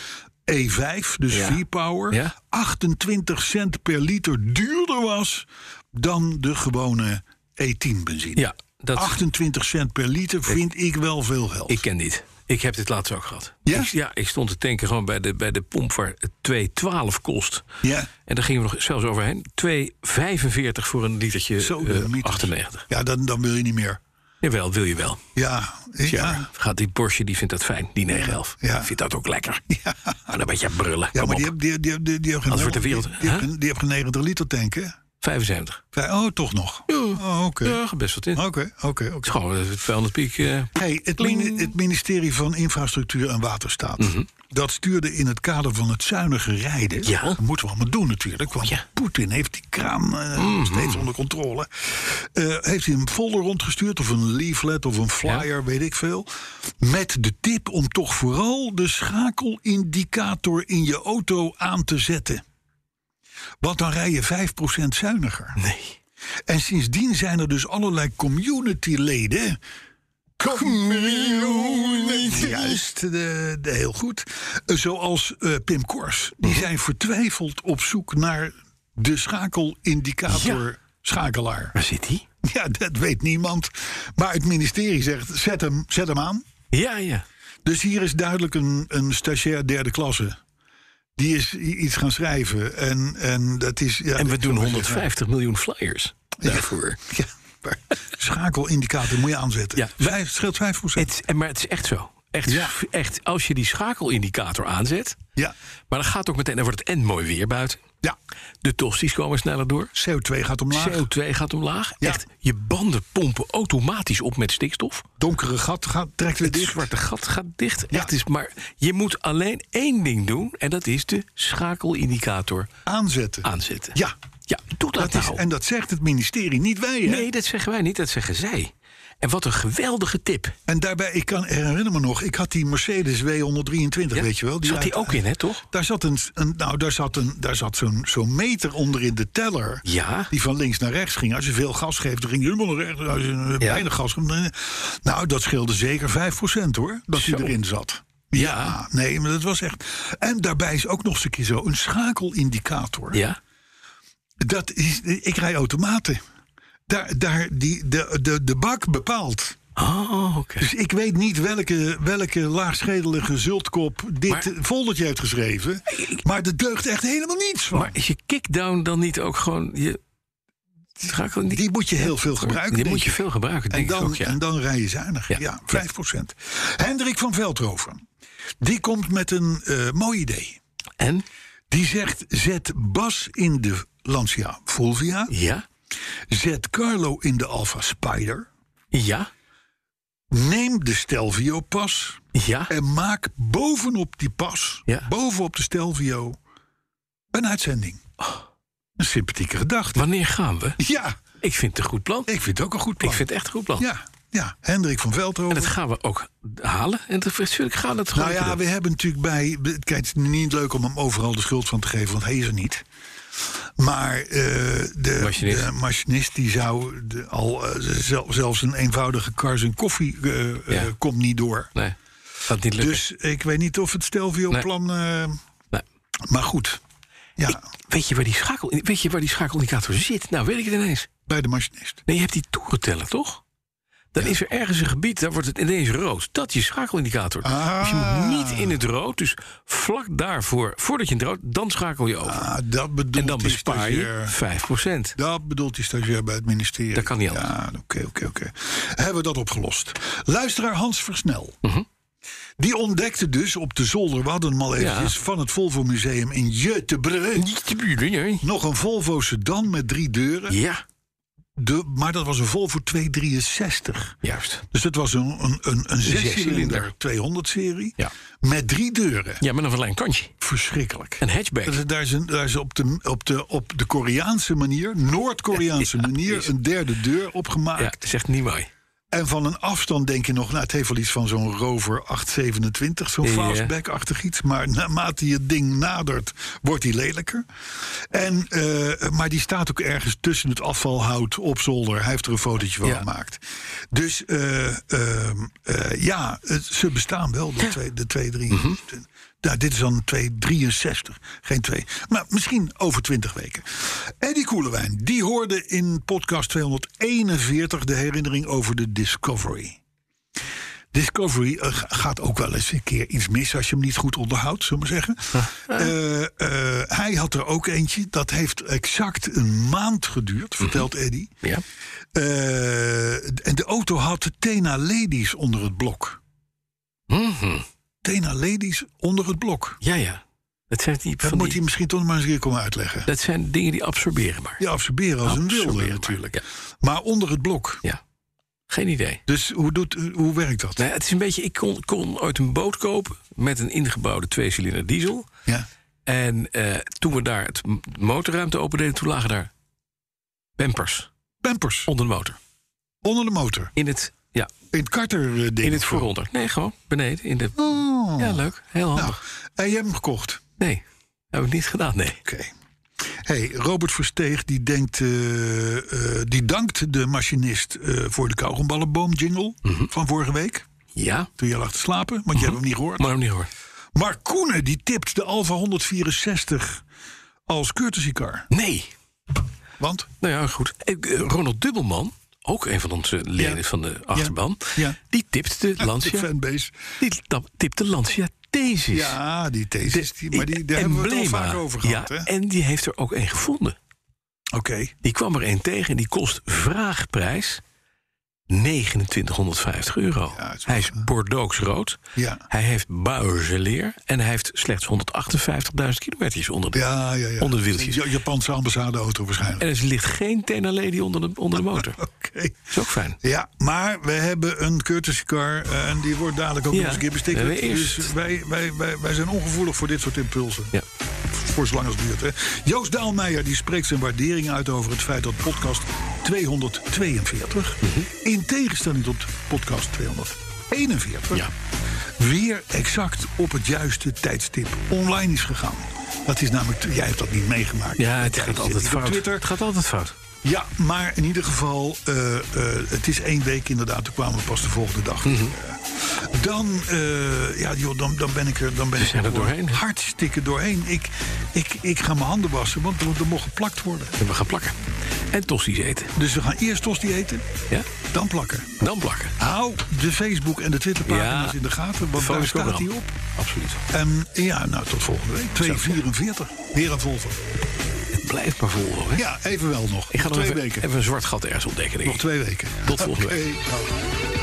E5, dus
Ja.
V-Power...
Ja.
28 cent per liter duurder was dan de gewone E10-benzine.
Ja, dat
28 cent per liter vind ik wel veel geld.
ik ken dit. Ik heb dit laatst ook gehad.
Ja?
Ik, ja, ik stond te tanken gewoon bij de, bij de pomp waar het 2,12 kost.
ja,
En daar gingen we nog zelfs overheen. 2,45 voor een litertje
zo
eh,
de mythes.
98.
Ja, dan, dan wil je niet meer.
Jawel, wil je wel.
Ja, ja.
Ja. Gaat die Porsche, die vindt dat fijn, die 911.
Ja.
Vindt dat ook lekker. Maar een beetje brullen.
Ja,
Kom
maar
op.
die hebben die, die, die, die hebben geen
Anders wordt de wereld-
die- die hebben
Huh?
geen- die hebben geen 90 liter tank, hè?
75.
Vij- Oh, toch nog? Oh,
Ja,
Oké,
gaat best wat in. Het
oké, oké. oké.
is gewoon eh, 200 piek. eh,
Hey, het, mini- het ministerie van Infrastructuur en Waterstaat. Dat stuurde in het kader van het zuinige rijden.
Ja.
Dat moeten we allemaal doen natuurlijk. Want
Ja.
Poetin heeft die kraan eh, steeds onder controle. Eh, heeft hij een folder rondgestuurd of een leaflet of een flyer, weet ik veel. Met de tip om toch vooral de schakelindicator in je auto aan te zetten. Want dan rij je 5% zuiniger.
nee.
En sindsdien zijn er dus allerlei communityleden. Community. Juist, de, de, heel goed. Eh, Zoals eh, Pim Kors.
Mhm.
Die zijn vertwijfeld op zoek naar de schakelindicator. Schakelaar.
Waar zit die?
Ja, dat weet niemand. Maar het ministerie zegt: zet hem, zet hem aan.
Ja, ja.
Dus hier is duidelijk een, een stagiair derde klasse. Die is i- iets gaan schrijven. En, en, dat is, ja,
En we
ik
doen
zou maar zeggen-
150 miljoen flyers daarvoor.
Ja, maar schakelindicator moet je aanzetten.
Ja.
Vijf, scheelt 5
Het, is- en- maar het is echt zo. Echt,
Ja.
echt, als je die schakelindicator aanzet...
Ja.
maar dan gaat ook meteen... dan wordt het en mooi weer buiten.
ja,
De tosti's komen sneller door.
CO2 gaat omlaag.
CO2 gaat omlaag.
Ja.
Echt, je banden pompen automatisch op met stikstof.
Donkere gat gaat, trekt weer
Het
dicht.
zwarte gat gaat dicht.
Ja.
Echt is, maar je moet alleen één ding doen. En dat is de schakelindicator
Aanzetten.
aanzetten.
Ja,
ja doe dat,
dat is,
nou.
en dat zegt het ministerie, niet wij. Hè?
Nee, dat zeggen wij niet. Dat zeggen zij. En wat een geweldige tip.
En daarbij, ik kan herinner me nog, ik had die Mercedes W123,
Ja?
weet je wel.
Zat
uit-
die ook in, hè, toch?
Daar zat, een, een- nou, daar zat, een, daar zat zo'n zo'n meter onder in de teller.
Ja.
Die van links naar rechts ging. Als je veel gas geeft, dan ging je helemaal naar rechts. Als je eh,
Ja.
weinig gas geeft. dan- Nou, dat scheelde zeker 5% hoor. Dat die
Zo.
erin zat.
Ja.
nee, maar dat was echt. En daarbij is ook nog eens een keer zo een schakelindicator.
Ja.
Dat is, ik rij automaten. Daar, daar die, de, de, de bak bepaalt.
Oh, oké.
Dus ik weet niet welke, welke laagschedelige zultkop dit
Maar-
foldertje heeft geschreven. Maar er deugt echt helemaal niets van.
Maar is je kickdown dan niet ook gewoon... Je, schakelindicator?
die moet je heel veel gebruiken.
Die
denk
moet je
ik.
veel gebruiken, denk
en dan,
ik ook, ja.
en dan rij je zuinig. Ja,
Ja.
5 Hendrik van Veldhoven. Die komt met een eh, mooi idee.
En?
Die zegt, zet Bas in de Lancia Fulvia.
Ja?
Zet Carlo in de Alfa Spider.
Ja?
Neem de Stelvio-pas
Ja?
en maak bovenop die pas,
Ja.
bovenop de Stelvio, een uitzending.
Oh.
Een sympathieke gedachte.
Wanneer gaan we?
Ja,
Ik vind het een goed plan.
ik vind het ook een goed plan.
Ik vind het echt een goed plan.
Ja, ja, Hendrik van
En
Veldhoven.
dat gaan we ook halen. En dat, natuurlijk gaan we het gewoon
Nou ja,
doen.
we hebben natuurlijk bij. Kijk, het is niet leuk om hem overal de schuld van te geven, want hij is er niet. Maar eh, de,
Machinist.
de machinist die zou de- al eh, zel- zelfs een eenvoudige kar zijn koffie eh, eh,
Ja.
komt niet door.
Nee, gaat niet lukken.
Dus ik weet niet of het Stelvio-plan. eh,
Nee.
Maar goed, ja,
Weet je, waar die schakel, weet je waar die schakelindicator zit? Nou, weet ik het ineens.
bij de machinist.
Nee, je hebt die toerenteller, toch? Dan is er ergens een gebied, daar wordt het ineens rood. Dat is je schakelindicator.
Ah.
Dus je moet niet in het rood. Dus vlak daarvoor, voordat je in het rood, dan schakel je over.
Ah, dat bedoelt
en dan
die
bespaar je
stagiair.
5
Dat bedoelt die stagiair bij het ministerie.
Dat kan niet anders.
Ja, oké, oké, oké. Hebben we dat opgelost. Luisteraar Hans Versnel.
Mhm.
Die ontdekte dus op de zolder, we hadden hem al eventjes... van het Volvo Museum in Göteborg...
Niet te buren, hè?
nog een Volvo sedan met drie deuren.
Ja,
De, maar dat was een Volvo 263.
juist.
Dus dat was een, een, een, een zescilinder 200-serie...
Ja.
met drie deuren.
Ja, met een verlengd kantje.
Verschrikkelijk.
Een hatchback.
Dat is- Daar is, een- daar is op, de, op, de, op de Koreaanse manier, Noord-Koreaanse manier, een derde deur
Ja,
opgemaakt.
dat is echt niet mooi.
En van een afstand denk je nog, nou, het heeft wel iets van zo'n Rover 827, zo'n
Ja.
fastback-achtig iets. Maar naarmate je het ding nadert, wordt die lelijker. En, eh, maar die staat ook ergens tussen het afvalhout op zolder. Hij heeft er een fotootje van
Ja.
gemaakt. Dus eh, ehm, eh, ja, het- ze bestaan wel, de twee- de 2,3. Nou, dit is dan 263, geen 2. Maar misschien over 20 weken. Eddie Koelewijn, die hoorde in podcast 241 de herinnering over de Discovery. Discovery eh, ga- gaat ook wel eens een keer iets mis als je hem niet goed onderhoudt, zullen we zeggen. Eh, eh, hij had er ook eentje, dat heeft exact een maand
Mhm.
geduurd, vertelt Eddie.
Ja.
Eh, en de auto had Tena Ladies onder het blok.
Mhm.
Tena Ladies onder het blok.
Ja, ja. Dat zijn, die,
Dat
van
moet
die-
hij misschien toch nog maar eens een keer komen uitleggen.
dat zijn dingen die absorberen maar.
Ja, absorberen als een wilde
Absorberen maar.
natuurlijk.
Ja.
Maar onder het blok.
Ja. Geen idee.
Dus hoe, doet, hoe werkt dat?
Nou, het is een beetje, ik kon, kon ooit een boot kopen met een ingebouwde tweecilinder diesel.
Ja.
En eh, toen we daar het m- motorruimte opendeden, toen lagen daar pampers
Pampers.
onder de motor.
Onder de motor.
In het, ja,
In het karter eh, ding.
in het vooronder. Nee, gewoon beneden. In de,
Oh.
ja, leuk. Heel
Nou,
handig.
en je hebt hem gekocht.
Nee, heb ik niet gedaan, nee.
Oké. Hey, Robert Versteeg die, denkt, eh, eh, die dankt de machinist eh, voor de kauwgomballenboom jingle
Mhm.
van vorige week.
Ja,
Toen je lag te slapen, want
Mhm.
je hebt hem niet gehoord.
maar hem niet hoor.
Mark Koenen die tipt de Alfa 164 als courtesy car.
Nee.
Want?
Nou ja, goed. Ik, eh, Ronald Dubbelman, ook een van onze leden
Ja.
van de achterban,
Ja.
die tipt de
De
Lancia.
fanbase.
Die tap- tipt de Lancia Thesis.
Ja, die thesis. Die, maar die, daar
Emblema.
hebben we het al vaak over gehad.
eh, Ja,
hè?
en die heeft er ook een gevonden.
Oké.
Die kwam er één tegen en die kost vraagprijs 2950 euro.
Ja, het is eh,
hij is Bordeaux rood.
Ja.
Hij heeft buizenleer en hij heeft slechts 158.000 kilometers onder de.
Ja, ja, ja.
Onder de wieltjes.
Ja, Japanse ambassadeauto waarschijnlijk.
En er ligt geen Tena Lady onder de, onder de motor. Dat
Oké.
is ook fijn.
Ja, maar we hebben een courtesy car eh, en die wordt dadelijk ook
Ja,
nog eens een keer
we hebben
bestikkerd.
eerst-
Dus wij, wij, wij, wij zijn ongevoelig voor dit soort impulsen.
Ja.
Voor zolang als het duurt. Hè. Joost Daalmeijer die spreekt zijn waardering uit over het feit dat podcast 242...
Mhm.
in tegenstelling tot podcast 241...
Ja.
weer exact op het juiste tijdstip online is gegaan. Dat is namelijk... Jij hebt dat niet meegemaakt.
ja, het
Jij
gaat
zit
altijd
niet op
fout.
Twitter.
Het gaat altijd fout.
Ja, maar in ieder geval, eh, eh, het is één week inderdaad. Toen kwamen we pas de volgende dag.
Mhm.
weer. Eh, Dan, eh, ja, joh, dan, dan ben ik er, dan ben ik
zijn er doorheen, hè?
Hartstikke doorheen. Ik, ik, ik ga mijn handen wassen, want er, er mocht geplakt worden.
En we gaan plakken. En tossies eten.
Dus we gaan eerst tosti eten,
Ja?
dan plakken.
Dan plakken.
Hou de Facebook en de Twitterpagina's
Ja,
in de gaten, want
Focus
daar staat
Coram.
hij op.
Absoluut.
En ja, nou, tot volgende week. 244. Weer een Volvo.
Het blijft maar vol, hè?
Ja, even wel nog.
Ik ga nog
twee
even,
weken.
even een zwart gat ergens ontdekken, denk
Nog
ik.
twee weken.
Tot volgende
Oké,
week.
nou.